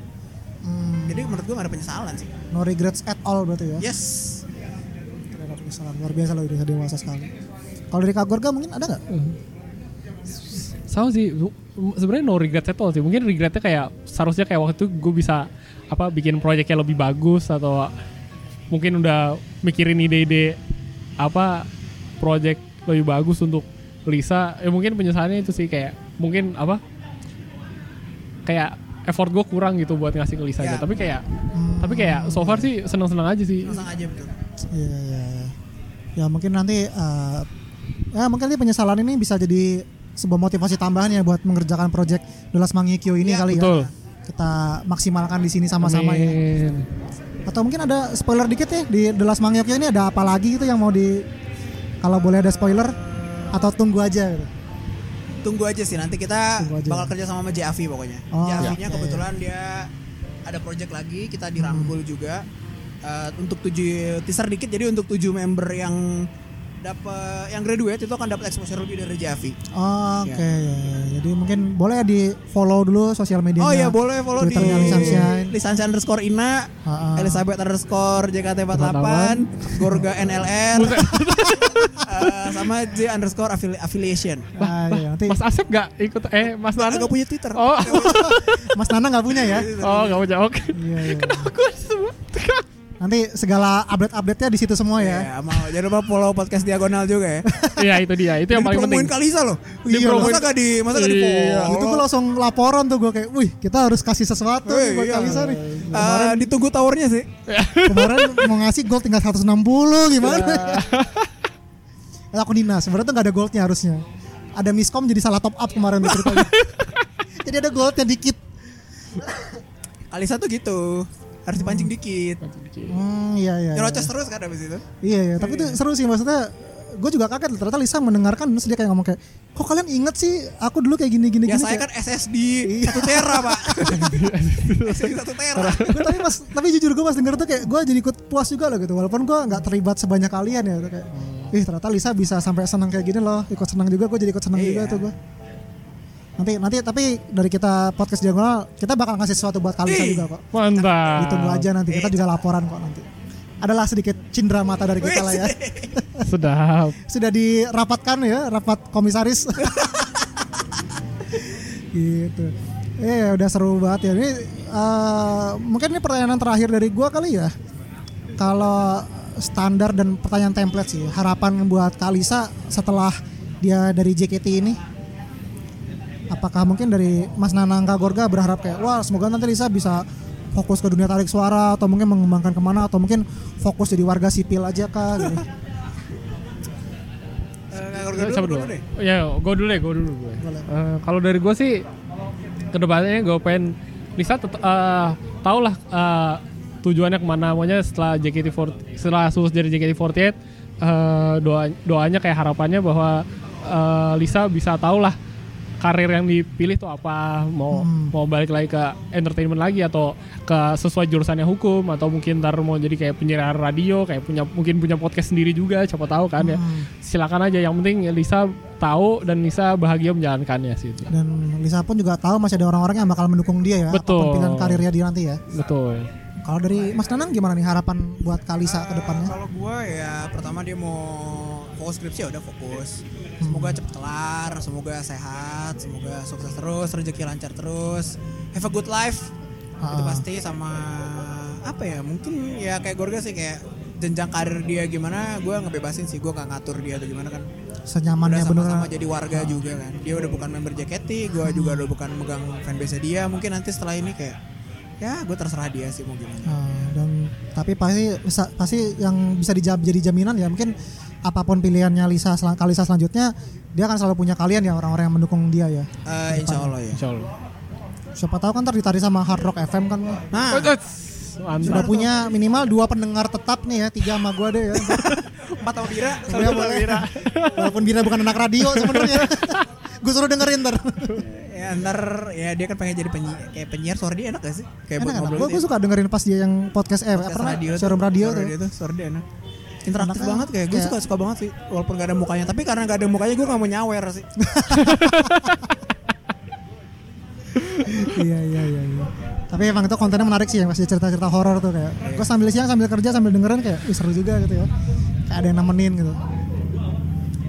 [SPEAKER 2] Hmm,
[SPEAKER 1] jadi menurut gua gak ada penyesalan sih
[SPEAKER 2] no regrets at all berarti ya
[SPEAKER 1] yes
[SPEAKER 2] terhadap penyesalan luar biasa loh udah dewasa sekali kalau dari Kak Gorga mungkin ada nggak
[SPEAKER 3] sama sih bu- sebenarnya no regret at all sih mungkin regretnya kayak seharusnya kayak waktu itu gue bisa apa bikin proyeknya lebih bagus atau mungkin udah mikirin ide-ide apa project lebih bagus untuk Lisa ya mungkin penyesalannya itu sih kayak mungkin apa kayak effort gue kurang gitu buat ngasih ke Lisa
[SPEAKER 1] Ya.
[SPEAKER 3] aja
[SPEAKER 2] Iya.
[SPEAKER 3] tapi kayak
[SPEAKER 2] Hmm,
[SPEAKER 3] tapi kayak so far sih seneng-seneng aja sih
[SPEAKER 1] langsung aja betul
[SPEAKER 2] Iya, iya, iya. Ya mungkin nanti eh, ya mungkin nanti penyesalan ini bisa jadi sebuah motivasi tambahan ya buat mengerjakan project Dolas Mangikyo ini
[SPEAKER 1] Iya,
[SPEAKER 2] kali
[SPEAKER 3] betul.
[SPEAKER 2] ya. Kita maksimalkan di sini sama-sama ya.
[SPEAKER 3] Amin.
[SPEAKER 2] Atau mungkin ada spoiler dikit ya di Dolas Mangikyo ini ada apa lagi gitu yang mau di kalau boleh ada spoiler atau tunggu aja gitu.
[SPEAKER 1] tunggu aja sih nanti kita
[SPEAKER 2] Tunggu aja.
[SPEAKER 1] bakal kerja sama sama Javi pokoknya.
[SPEAKER 2] Oh,
[SPEAKER 1] Javi-nya
[SPEAKER 2] oke.
[SPEAKER 1] kebetulan dia ada project lagi, kita
[SPEAKER 2] Hmm.
[SPEAKER 1] dirangkul juga. Eh, untuk tujuh teaser dikit jadi untuk tujuh member yang dapat yang graduate itu akan dapat exposure lebih dari Javi. Iya.
[SPEAKER 2] Oh, Oke, ya, ya. jadi mungkin boleh ya di follow dulu sosial media.
[SPEAKER 1] Oh iya boleh follow di
[SPEAKER 2] Twitternya Lisan Shine.
[SPEAKER 1] Lisansia underscore Ina,
[SPEAKER 2] Ha-ha.
[SPEAKER 1] Elizabeth underscore JKT48, Gorga NLR, eh, sama J underscore affili- affiliation.
[SPEAKER 2] Ah, iya, nanti
[SPEAKER 3] Mas Asep gak ikut eh Mas Nana
[SPEAKER 1] Nggak punya Twitter.
[SPEAKER 3] Oh,
[SPEAKER 2] Mas Nana nggak punya ya?
[SPEAKER 3] oh gak punya. Oke.
[SPEAKER 2] Iya, iya.
[SPEAKER 3] Aku semua.
[SPEAKER 2] Nanti segala update-update-nya di situ semua ya.
[SPEAKER 1] Ya, mau jangan lupa follow podcast diagonal juga ya.
[SPEAKER 3] Iya itu dia. Itu yang
[SPEAKER 1] Jadi
[SPEAKER 3] paling
[SPEAKER 1] promoin
[SPEAKER 3] penting.
[SPEAKER 1] Kalisa loh. masa
[SPEAKER 3] Iya, promoin-
[SPEAKER 1] gak di masa gak di
[SPEAKER 3] Iya.
[SPEAKER 1] follow.
[SPEAKER 2] Itu gue langsung laporan tuh gue kayak, wih kita harus kasih sesuatu
[SPEAKER 1] Wih,
[SPEAKER 2] nih buat
[SPEAKER 1] iya.
[SPEAKER 2] Kalisa nih.
[SPEAKER 1] Eh, ditunggu towernya sih.
[SPEAKER 2] Kemarin mau ngasih gold tinggal 160 gimana? Ya. aku Nina, sebenarnya tuh gak ada goldnya harusnya. Ada miskom jadi salah top up kemarin tuh ceritanya. jadi ada goldnya dikit.
[SPEAKER 1] Kalisa tuh gitu. Harus dipancing dikit.
[SPEAKER 2] Hmm, iya iya. iya.
[SPEAKER 1] Nyerocos terus kan abis itu.
[SPEAKER 2] Iya iya, tapi itu seru sih maksudnya gue juga kaget ternyata Lisa mendengarkan terus dia kayak ngomong kayak kok kalian inget sih aku dulu kayak gini gini
[SPEAKER 1] Ya
[SPEAKER 2] gini
[SPEAKER 1] saya
[SPEAKER 2] kayak,
[SPEAKER 1] kan SSD satu tera pak. SSD satu tera.
[SPEAKER 2] Gua tapi mas tapi jujur gue pas denger tuh kayak gue jadi ikut puas juga loh gitu walaupun gue nggak terlibat sebanyak kalian ya kayak
[SPEAKER 1] Hmm.
[SPEAKER 2] ih ternyata Lisa bisa sampai senang kayak gini loh ikut senang juga gue jadi ikut senang juga
[SPEAKER 1] Iya.
[SPEAKER 2] tuh gue nanti nanti tapi dari kita podcast diagonal kita bakal ngasih sesuatu buat Kalisa
[SPEAKER 1] Ih.
[SPEAKER 2] juga kok
[SPEAKER 3] Mantap.
[SPEAKER 2] ditunggu aja nanti kita juga laporan kok nanti adalah sedikit cindera mata dari kita lah ya
[SPEAKER 3] Sedap.
[SPEAKER 2] sudah dirapatkan ya rapat komisaris gitu eh udah seru banget ya ini eh, mungkin ini pertanyaan terakhir dari gua kali ya kalau standar dan pertanyaan template sih harapan buat Kalisa setelah dia dari JKT ini apakah mungkin dari Mas Nanang Gorga berharap kayak wah semoga nanti Lisa bisa fokus ke dunia tarik suara atau mungkin mengembangkan kemana atau mungkin fokus jadi warga sipil aja kah gitu.
[SPEAKER 1] Eh,
[SPEAKER 3] Siapa dulu? Ya, gue dulu ya, gue dulu. Gue.
[SPEAKER 2] Boleh.
[SPEAKER 3] Eh, kalau dari gue sih, kedepannya gue pengen Lisa tetap tau lah eh, tujuannya kemana. Maunya setelah JKT48, setelah lulus dari JKT48, eh, doa doanya kayak harapannya bahwa eh, Lisa bisa tau lah karir yang dipilih tuh apa mau mau balik lagi ke entertainment lagi atau ke sesuai jurusannya hukum atau mungkin ntar mau jadi kayak penyiar radio kayak punya mungkin punya podcast sendiri juga siapa tahu kan ya silakan aja yang penting Lisa tahu dan Lisa bahagia menjalankannya sih itu.
[SPEAKER 2] dan Lisa pun juga tahu masih ada orang-orang yang bakal mendukung dia ya
[SPEAKER 3] Betul.
[SPEAKER 2] apapun pilihan karirnya dia nanti ya
[SPEAKER 3] betul
[SPEAKER 2] kalau dari Mas Nanang gimana nih harapan buat Kalisa ke depannya
[SPEAKER 1] Kalau gue ya pertama dia mau fokus skripsi ya udah fokus. Semoga cepet kelar, semoga sehat, semoga sukses terus, rezeki lancar terus. Have a good life. Itu
[SPEAKER 2] Ah.
[SPEAKER 1] pasti sama apa ya? Mungkin ya kayak Gorga sih kayak jenjang karir dia gimana, gue ngebebasin sih, gue gak ngatur dia atau gimana kan.
[SPEAKER 2] senyamannya
[SPEAKER 1] udah
[SPEAKER 2] bener
[SPEAKER 1] sama-sama jadi warga juga kan dia udah bukan member JKT gue juga udah bukan megang fanbase dia mungkin nanti setelah ini kayak ya gue terserah dia sih mau gimana
[SPEAKER 2] Nah, dan tapi pasti bisa- pasti yang bisa dijam, jadi jaminan ya mungkin apapun pilihannya Lisa selan- Kalisa selanjutnya dia akan selalu punya kalian ya orang-orang yang mendukung dia ya
[SPEAKER 1] Eh, insya Allah ya
[SPEAKER 3] Insya Allah
[SPEAKER 2] siapa tahu kan ntar ditarik sama Hard Rock FM kan
[SPEAKER 1] nah
[SPEAKER 2] sudah
[SPEAKER 3] mantap
[SPEAKER 2] punya minimal dua pendengar tetap nih ya tiga sama gua deh ya
[SPEAKER 1] empat tahun kira
[SPEAKER 2] Bira boleh. Walaupun Bira bukan anak radio sebenarnya. gue suruh dengerin ntar.
[SPEAKER 1] ya ntar ya dia kan pengen jadi penyi kayak penyiar suara dia enak gak sih kayak buat
[SPEAKER 2] Enak enak.
[SPEAKER 1] ngobrol
[SPEAKER 2] Gue
[SPEAKER 1] gitu.
[SPEAKER 2] suka dengerin pas dia yang podcast eh
[SPEAKER 1] Podcast
[SPEAKER 2] apa
[SPEAKER 1] radio
[SPEAKER 2] radio
[SPEAKER 1] tuh,
[SPEAKER 2] showroom radio
[SPEAKER 1] suara dia
[SPEAKER 2] tuh.
[SPEAKER 1] tuh suara dia enak interaktif
[SPEAKER 2] Enak,
[SPEAKER 1] banget kayak gue
[SPEAKER 2] kayak-
[SPEAKER 1] suka suka banget sih walaupun gak ada mukanya tapi karena gak ada mukanya gue gak mau nyawer sih
[SPEAKER 2] Iya iya iya. iya. Tapi emang itu kontennya menarik sih yang pas dia cerita-cerita horor tuh kayak.
[SPEAKER 1] Iya.
[SPEAKER 2] Gue sambil siang sambil kerja sambil dengerin kayak "Ih, seru juga gitu ya. Kayak ada yang nemenin gitu.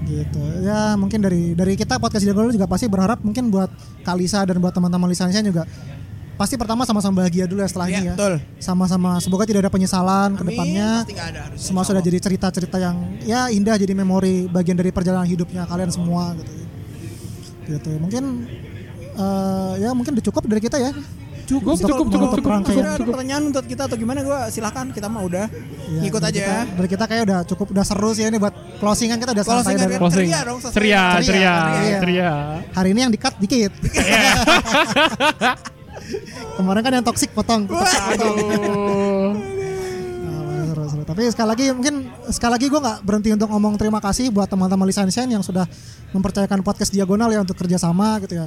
[SPEAKER 2] Gitu. Ya mungkin dari dari kita podcast Jago juga pasti berharap mungkin buat Kalisa dan buat teman-teman lisansian juga pasti pertama sama-sama bahagia dulu ya setelah
[SPEAKER 1] Iya,
[SPEAKER 2] ini ya.
[SPEAKER 1] betul.
[SPEAKER 2] Sama-sama semoga tidak ada penyesalan ke depannya.
[SPEAKER 1] pasti gak ada harus
[SPEAKER 2] semua sudah jadi cerita-cerita yang ya indah jadi memori bagian dari perjalanan hidupnya kalian semua gitu gitu mungkin eh, ya mungkin udah cukup dari kita ya
[SPEAKER 3] cukup
[SPEAKER 2] Untuk-
[SPEAKER 3] cukup
[SPEAKER 2] untuk
[SPEAKER 3] cukup cukup
[SPEAKER 2] perangkat.
[SPEAKER 3] cukup
[SPEAKER 1] ada pertanyaan untuk kita atau gimana gue silakan kita mah udah
[SPEAKER 2] Ya,
[SPEAKER 1] ngikut aja
[SPEAKER 2] dari kita, dari kita kayak udah cukup udah seru sih ini buat closing kan kita udah
[SPEAKER 1] Closing
[SPEAKER 2] santai
[SPEAKER 1] kan
[SPEAKER 2] dari
[SPEAKER 1] kita-
[SPEAKER 3] closing
[SPEAKER 1] Ceria dong, selesai.
[SPEAKER 3] ceria
[SPEAKER 2] Ceria,
[SPEAKER 3] ceria
[SPEAKER 2] ceria.
[SPEAKER 3] ceria
[SPEAKER 2] hari ini yang dikat dikit kemarin kan yang toksik potong
[SPEAKER 3] aduh
[SPEAKER 2] Nah, seru, seru. Tapi sekali lagi mungkin sekali lagi gue nggak berhenti untuk ngomong terima kasih buat teman-teman lisensian yang sudah mempercayakan podcast diagonal ya untuk kerjasama gitu ya.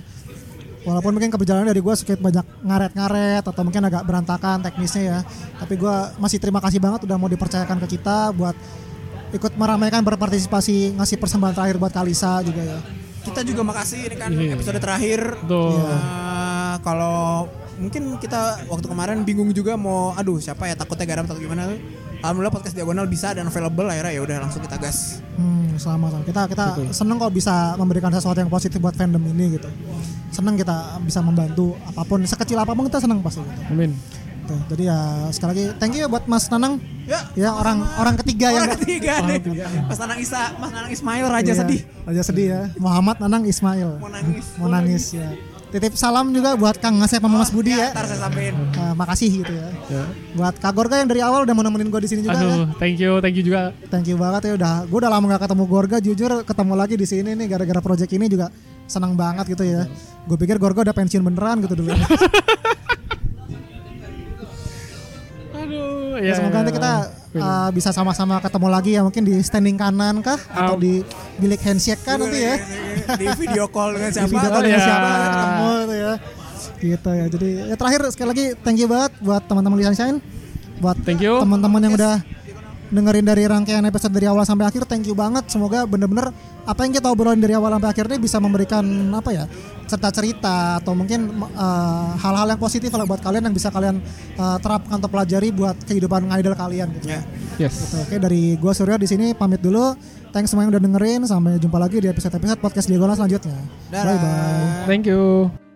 [SPEAKER 2] Walaupun mungkin keberjalanan dari gue sedikit banyak ngaret-ngaret atau mungkin agak berantakan teknisnya ya. Tapi gue masih terima kasih banget udah mau dipercayakan ke kita buat ikut meramaikan berpartisipasi ngasih persembahan terakhir buat Kalisa juga ya.
[SPEAKER 1] Kita juga makasih ini kan
[SPEAKER 3] Iya.
[SPEAKER 1] episode terakhir.
[SPEAKER 3] Betul.
[SPEAKER 1] Eh, kalau mungkin kita waktu kemarin bingung juga mau aduh siapa ya takutnya garam atau gimana. Alhamdulillah podcast diagonal bisa dan available akhirnya ya udah langsung kita gas.
[SPEAKER 2] Hmm, selamat selamat. Kita kita seneng kok bisa memberikan sesuatu yang positif buat fandom ini gitu. Seneng kita bisa membantu apapun sekecil apapun kita seneng pasti. Gitu.
[SPEAKER 3] Amin.
[SPEAKER 2] Tuh, jadi ya sekali lagi thank you ya buat Mas Nanang
[SPEAKER 1] Ya,
[SPEAKER 2] ya orang orang ketiga yang
[SPEAKER 1] orang ketiga Oh, nih. Mas Nanang Isa, Mas Nanang Ismail Raja
[SPEAKER 2] Iya,
[SPEAKER 1] sedih.
[SPEAKER 2] Raja sedih ya. Muhammad Nanang Ismail.
[SPEAKER 1] Mau nangis.
[SPEAKER 2] Mau nangis ya. Titip salam juga buat Kang Ngasep sama Mas Budi
[SPEAKER 1] Oh, iya,
[SPEAKER 2] ya.
[SPEAKER 1] Ntar saya sampein.
[SPEAKER 2] Eh, makasih gitu ya. Buat Kak Gorga yang dari awal udah mau nemenin gue di sini juga ya.
[SPEAKER 3] Aduh, thank you, thank you juga.
[SPEAKER 2] Thank you banget ya udah. Gue udah lama gak ketemu Gorga jujur ketemu lagi di sini nih gara-gara project ini juga senang banget gitu ya. Gue pikir Gorga udah pensiun beneran gitu dulu.
[SPEAKER 3] Aduh,
[SPEAKER 2] ya, semoga nanti kita
[SPEAKER 3] Iya.
[SPEAKER 2] uh, bisa sama-sama ketemu lagi ya mungkin di standing kanan kah
[SPEAKER 3] Am.
[SPEAKER 2] atau
[SPEAKER 3] Iya.
[SPEAKER 2] di bilik handshake kah nanti ya.
[SPEAKER 1] Di video call dengan
[SPEAKER 2] Di
[SPEAKER 1] siapa?
[SPEAKER 2] video
[SPEAKER 1] atau
[SPEAKER 2] call dengan
[SPEAKER 1] dengan
[SPEAKER 2] siapa
[SPEAKER 1] siapa?
[SPEAKER 2] ketemu gitu ya. Gitu ya. Jadi ya terakhir sekali lagi thank you banget buat teman-teman Lisan Shine buat
[SPEAKER 3] Thank you.
[SPEAKER 2] teman-teman yang udah dengerin dari rangkaian episode dari awal sampai akhir thank you banget semoga bener-bener apa yang kita obrolin dari awal sampai akhir ini bisa memberikan apa ya cerita-cerita atau mungkin eh, hal-hal yang positif lah buat kalian yang bisa kalian eh, terapkan atau pelajari buat kehidupan idol kalian
[SPEAKER 3] Iya.
[SPEAKER 2] gitu.
[SPEAKER 1] Ya.
[SPEAKER 3] Yes.
[SPEAKER 2] Oke dari gua Surya di sini pamit dulu. Thanks semua yang udah dengerin sampai jumpa lagi di episode-episode podcast Diagonal selanjutnya. Bye bye.
[SPEAKER 1] Dadah.
[SPEAKER 3] Thank you.